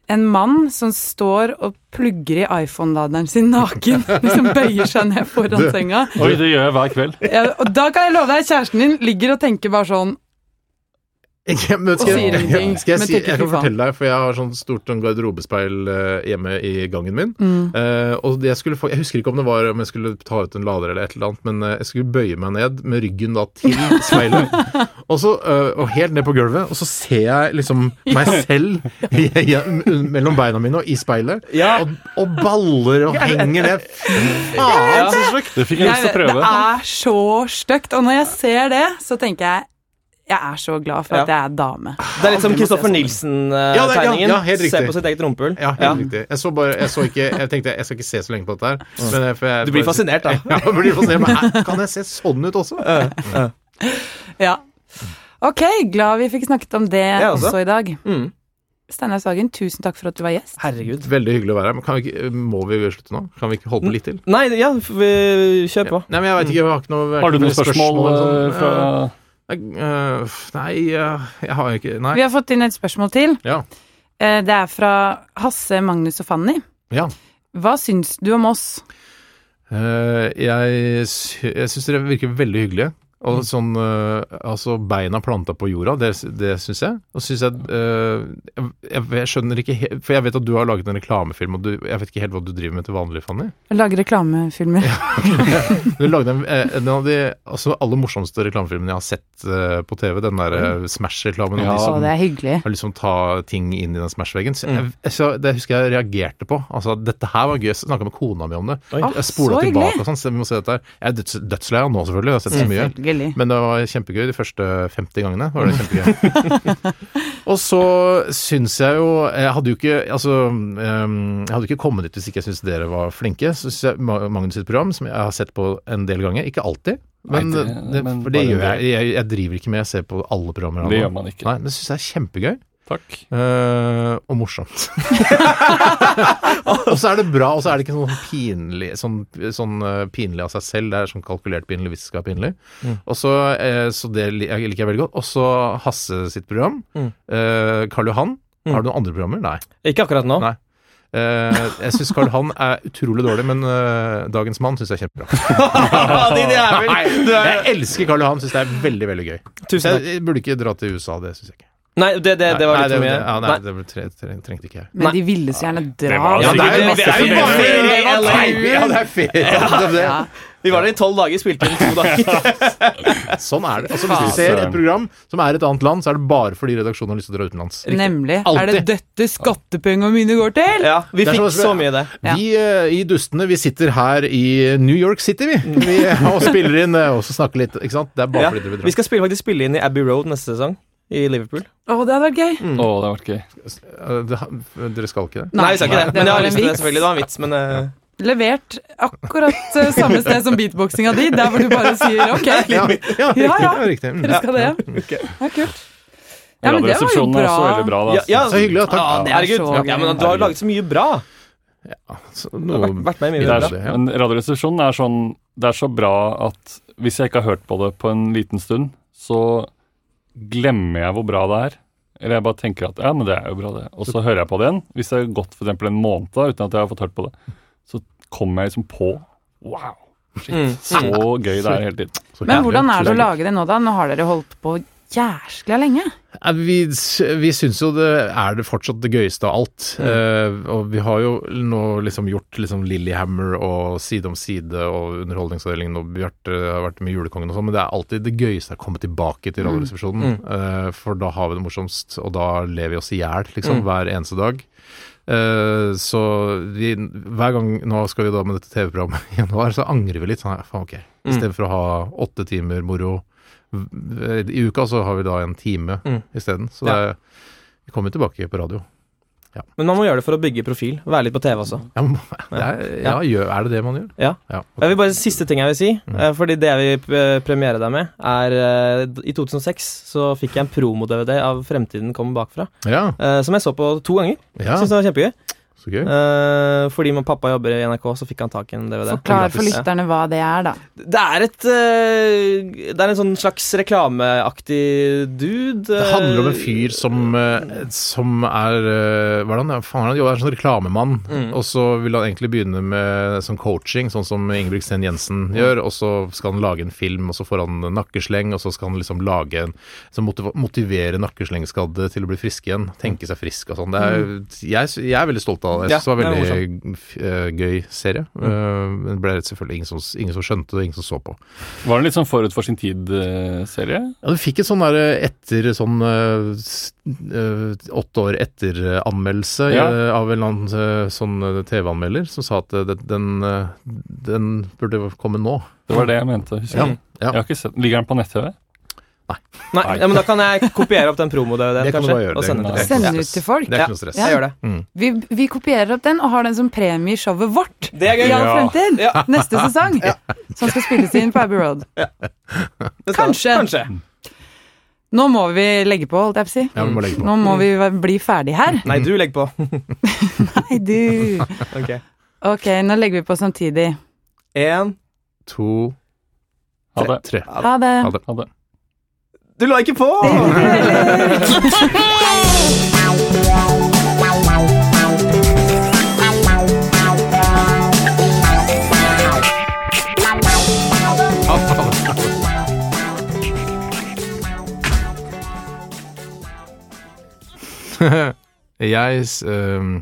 S1: en mann som står og plugger i iPhone-laderen sin naken. liksom bøyer seg ned foran senga.
S3: Oi, det gjør jeg hver kveld.
S1: Ja, og da kan jeg love deg, kjæresten din ligger og tenker bare sånn
S5: Ikke, men skal,
S1: Og sier
S5: jeg-
S1: ingenting,
S5: Skal jeg,
S1: men
S5: si,
S1: tenker
S5: jeg kan
S1: fy faen.
S5: fortelle deg, for jeg har sånn stort sånn garderobespeil eh, hjemme i gangen min.
S1: Mm.
S5: Eh, og jeg, skulle få, jeg husker ikke om det var om jeg skulle ta ut en lader eller et eller annet, men eh, jeg skulle bøye meg ned med ryggen da til speilet, og, så, eh, og helt ned på gulvet, og så ser jeg liksom meg selv i, i, mellom beina mine og i speilet,
S2: Ja.
S5: og, og baller og henger ned. Fy faen, så stygt!
S3: Det fikk jeg lyst til å
S1: Jeg-
S3: prøve.
S1: Det er så stygt. Og når jeg ser det, så tenker jeg jeg er så glad for at
S2: Ja.
S1: jeg er dame.
S2: Det er litt som
S1: Aldri må se
S2: Kristoffer
S1: sånn.
S5: Ja, det er- ja,
S2: Nilsen-tegningen.
S5: ja, helt
S2: Se
S5: riktig.
S2: på sitt eget rumpehull.
S5: Ja, helt riktig. Jeg så bare, jeg så ikke, jeg tenkte jeg skal ikke se så lenge på dette her. Men, eh, for jeg,
S2: Du blir fascinert, da.
S5: Ja, jeg blir fascinert. Men hæ, kan jeg se sånn ut også?
S1: Ja. Ok, glad vi fikk snakket om det
S2: Jeg også.
S1: også. i dag.
S2: Mm.
S1: Steinar Sagen, tusen takk for at du var gjest.
S2: Herregud.
S5: Veldig hyggelig å være her, men kan vi ikke, må vi slutte nå? Kan vi ikke holde på litt til?
S2: Nei, ja, f- vi- kjør på.
S5: Nei, men jeg vet ikke, jeg har ikke noe
S3: Har du
S5: noe
S3: noen spørsmål
S5: eller
S3: eh,
S5: sånn.
S3: fra
S5: Eh, eh, Nei, eh, jeg har ikke Nei.
S1: Vi har fått inn et spørsmål til.
S5: Ja.
S1: Eh, Det er fra Hasse, Magnus og Fanny.
S5: Ja.
S1: Hva syns du om oss?
S5: Eh, jeg sy jeg syns dere virker veldig hyggelige.
S3: Mm.
S5: Og sånn eh, Altså, beina planta på jorda, det, det syns jeg. Og syns jeg, eh, jeg Jeg skjønner ikke helt For jeg vet at du har laget en reklamefilm, og du, jeg vet ikke helt hva du driver med til vanlig, Fanny.
S1: Å Lage reklamefilmer.
S5: Du lagde en, eh, en av de altså, aller morsomste reklamefilmene jeg har sett eh, på TV. Den der eh, Smash-reklamen.
S3: Ja.
S5: Ja,
S1: Å, Mm. det er Mm. hyggelig.
S5: har liksom ta ting inn i den Smash-veggen. Så jeg, så det husker jeg reagerte på. Altså, dette her var gøy. Jeg snakka med kona mi om det.
S2: Oi.
S5: Jeg spola
S1: Ah, så
S5: tilbake
S1: hyggelig. Mm.
S5: og sånn. Så vi må se dette her. Jeg er døds, dødslei av nå, selvfølgelig. Jeg har sett så Mm, mye.
S1: Selvfølgelig.
S5: Men det var kjempegøy de første 50 gangene. var det kjempegøy. og så syns jeg jo Jeg hadde jo ikke altså, ehm, jeg hadde ikke kommet dit hvis ikke jeg syntes dere var flinke. Så syns jeg Ma- Magnus sitt program, som jeg har sett på en del ganger, ikke alltid, men,
S3: Nei,
S5: det,
S3: det- men
S5: for det
S3: bare en
S5: gjør jeg, jeg. Jeg driver ikke med å se på alle programmer.
S3: Det
S5: nå.
S3: gjør man ikke.
S5: Nei, men det syns jeg er kjempegøy.
S3: Takk.
S5: Eh, og morsomt. og så er det bra, og så er det ikke sånn pinlig sånn, sånn eh, pinlig av seg selv. Det er sånn kalkulert pinlig hvis det skal være pinlig.
S2: Mm.
S5: Og så, eh, så det li- jeg liker jeg veldig godt. Og så Hasse sitt program.
S2: Mm.
S5: Eh, Karl Johan.
S2: Mm.
S5: Har du noen andre programmer? Nei.
S2: Ikke akkurat nå.
S5: Nei. Eh, jeg syns Karl Johan er utrolig dårlig, men eh, Dagens Mann syns jeg er kjempebra.
S2: Din jævel! Du
S5: Jeg
S2: er-
S5: elsker Karl Johan, syns det er veldig, veldig gøy.
S2: Tusen
S5: Jeg,
S2: takk.
S5: jeg burde ikke dra til USA, det syns jeg ikke.
S2: Nei, det, Eh, det, det var litt
S5: Nei,
S2: for
S5: det- Ja,
S2: mye.
S5: nei,
S2: Nei.
S5: det ble tre, tre, trengte ikke jeg.
S1: Men de ville så gjerne dra.
S3: var
S5: Ja, det er jo
S2: det er jo
S5: bare
S2: bare
S5: ferie!
S2: ferie,
S5: Nei, Ja, det er ferie. Det er det.
S1: Ja.
S2: Vi var der i tolv dager, spilte inn to dager.
S5: Sånn er det. Altså, hvis du ser et program som er et annet land, så er det bare fordi redaksjonen har lyst til å dra utenlands.
S1: Nemlig. Er det
S5: Alltid.
S1: dette skattepengene mine går til?
S2: Ja, Vi
S5: Det er
S2: fikk
S5: som-
S2: så mye i det.
S1: Ja.
S5: Vi eh, i Dustene vi sitter her i New York City, vi. vi og spiller inn eh, og så snakker litt. Ikke sant? Det er bare
S2: Ja.
S5: fordi dere vil
S2: Vi skal spille, faktisk spille inn i Abbey Road neste sesong. I Liverpool.
S1: Å, det hadde vært gøy.
S3: Å, det har vært gøy.
S5: dra. Eh, det har- Dere skal ikke det?
S2: Nei, vi sa ikke det. Men jeg
S1: var
S2: har
S1: en
S2: lyst til det,
S1: vits.
S2: selvfølgelig. Det var en vits, men eh,
S1: Levert akkurat eh, samme sted som beatboxinga di, der hvor du bare sier ok.
S5: Ja, ja, riktig.
S1: Ja, ja.
S5: ja, riktig. Mm.
S1: Dere skal det. Det er kult. Ja, men det var jo
S3: Radioresepsjonen er
S1: bra.
S3: også veldig bra. Da.
S2: Ja, ja.
S5: Så hyggelig, og takk.
S2: Ja, det er
S1: Det er så
S2: herregud. Ja, men du har jo laget så mye bra.
S5: Så
S2: Du har
S5: noe-
S2: vært, vært med i mye
S3: Det er,
S2: bra.
S5: Ja.
S3: men Radioresepsjonen er sånn Det er så bra at hvis jeg ikke har hørt på det på en liten stund, så glemmer jeg hvor bra det er. Eller jeg bare tenker at ja, men det er jo bra, det. Og så hører jeg på det igjen. Hvis det har gått for eksempel en måned da, uten at jeg har fått hørt på det, så kommer jeg liksom på Wow!
S2: Mm.
S3: Shit, så gøy det er hele tiden.
S5: så
S1: Men
S5: hyggelig.
S1: hvordan er det å
S5: Tusen takk.
S1: lage det nå, da? Nå har dere holdt på jæskla lenge.
S5: Nei, Vi, vi syns jo det er det fortsatt det gøyeste av alt. Eh, og vi har jo nå liksom gjort liksom Lillehammer og Side om side og Underholdningsavdelingen og Bjarte har vært med i Julekongen og sånn, men det er alltid det gøyeste å komme tilbake til Radioresepsjonen. eh, for da har vi det morsomst, og da lever vi oss i hjel liksom, hver eneste dag. Eh, så vi, hver gang Nå skal vi da med dette TV-programmet i januar, så angrer vi litt. Sånn, ja, faen, ok. I
S2: Mm.
S5: stedet for å ha åtte timer moro v- i uka, så har vi da en time
S2: Mm.
S5: isteden. Så
S2: Ja.
S5: det er, vi kommer tilbake på radio.
S2: Men man må gjøre det for å bygge profil. Være litt på TV også.
S5: Ja, men, det er, ja, gjør, er det det man gjør?
S2: Ja. Jeg vil bare, Siste ting jeg vil si,
S5: Mm.
S2: eh, fordi det jeg vil eh, premiere deg med, er eh, d- I 2006 så fikk jeg en promo-DVD av Fremtiden kommer bakfra,
S5: Ja,
S2: eh, som jeg så på to ganger.
S5: ja.
S2: Synes det var kjempegøy.
S5: Så gøy.
S2: Eh, fordi min pappa jobber i NRK, så fikk han tak i en DVD.
S1: Forklar for
S2: Ja.
S1: lytterne hva det er, da.
S2: Det er et eh, Det er en sånn slags reklameaktig dude.
S5: Det handler om en fyr som, eh, som er eh, Hva er det han? Faen, han jobber- er en sånn reklamemann.
S2: Mm.
S5: Og så vil han egentlig begynne med sånn coaching, sånn som Ingebrigt Sten Jensen gjør. Og så skal han lage en film, og så får han nakkesleng, og så skal han liksom lage en så motiv Motivere nakkeslengskadde til å bli friske igjen. Tenke seg frisk og sånn. Det er, jeg, sy- jeg er veldig stolt av det. Jeg syns det
S2: Mm. Ja, det
S5: var
S2: er Mm.
S5: veldig f- eh, gøy serie. Eh, Men det ble selvfølgelig ingen som, ingen som skjønte det, og ingen som så på.
S3: Var det litt sånn forut for sin eh, tid-serie?
S5: Ja, du fikk et sånn der etter sånn eh, s- eh, åtte år etter-anmeldelse
S3: Ja.
S5: eh, av en eller annen eh, sånn eh, TV-anmelder som sa at eh, det- den, eh, den burde komme nå.
S3: Det var det jeg mente. husker
S5: Ja,
S3: jeg.
S5: ja.
S3: Jeg har ikke sett. Ligger den på nett-TV?
S2: Nei, ja, men da kan jeg kopiere opp den promo-DVD-en,
S5: Det kan du
S2: kanskje.
S5: bare gjøre,
S2: Og
S5: det
S2: sende den
S5: kan du
S2: til deg.
S1: Sende ut til folk.
S5: Det er ikke noe stress.
S2: Jeg gjør det.
S1: Vi, vi kopierer opp den og har den som premie i showet vårt
S2: Det er
S1: i
S2: gøy.
S1: all
S3: Ja.
S1: fremtid.
S2: Ja.
S1: Neste sesong. Som skal spilles inn på Abbey Road.
S2: Det skal-
S1: Kanskje.
S2: Kanskje.
S1: Nå må vi legge på, holdt jeg på å si.
S5: Ja, vi må legge på.
S1: Nå må vi være- bli ferdig her.
S2: Nei, du legger på.
S1: Nei, du.
S2: Ok.
S1: Ok, nå legger vi på samtidig.
S2: En
S5: To,
S3: Ha det.
S5: tre.
S1: Ha det.
S5: Ha det.
S3: Ha det.
S2: Du la ikke på!
S5: Jeg, s- eh,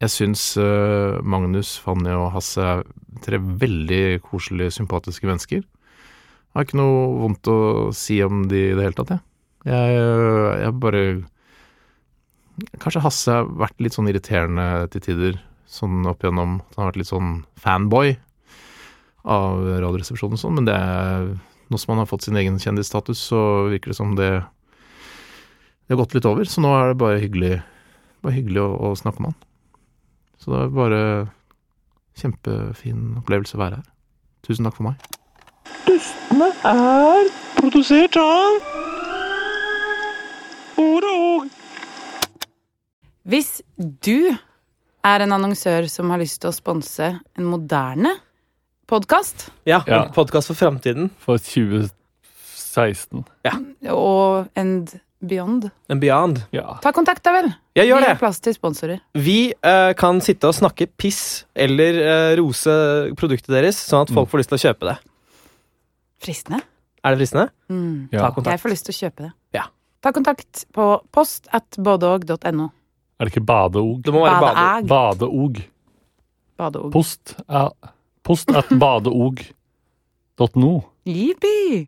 S5: jeg syns eh, Magnus, Fanny og Hasse er tre veldig koselige, sympatiske mennesker. Jeg har ikke noe vondt å si om de i det hele tatt, jeg. Jeg, eh, jeg bare Kanskje Hasse har vært litt sånn irriterende til tider, sånn opp igjennom. at Han har vært litt sånn fanboy av Radioresepsjonen og sånn, men det er nå som han har fått sin egen kjendisstatus, så virker det som det det har gått litt over, så nå er det bare hyggelig, bare hyggelig å, å snakke med han. Så det er bare kjempefin opplevelse å være her. Tusen takk for meg.
S1: Hvis du er en annonsør som har lyst til å sponse en moderne podkast,
S2: Ja,
S3: Ja.
S2: Podkast for framtiden.
S3: For 2016.
S1: og and beyond,
S2: And beyond.
S3: Ja.
S1: ta kontakt, da vel.
S2: Jeg gjør
S1: Vi
S2: det!
S1: har plass til sponsorer.
S2: Vi eh, kan sitte og snakke piss eller eh, rose produktet deres, sånn at folk
S5: Mm.
S2: får lyst til å kjøpe det.
S1: Fristende.
S2: Er det fristende?
S1: Mm.
S3: ja.
S2: Ta kontakt.
S1: Jeg får lyst til å kjøpe det.
S2: Ja.
S1: Ta kontakt på post at badeog.no.
S3: Er det ikke badeog?
S2: Det må være badeord.
S1: Badeæg.
S3: Badeog.
S1: Badeog.
S3: Post, er- post at badeog.no.
S1: Jippi!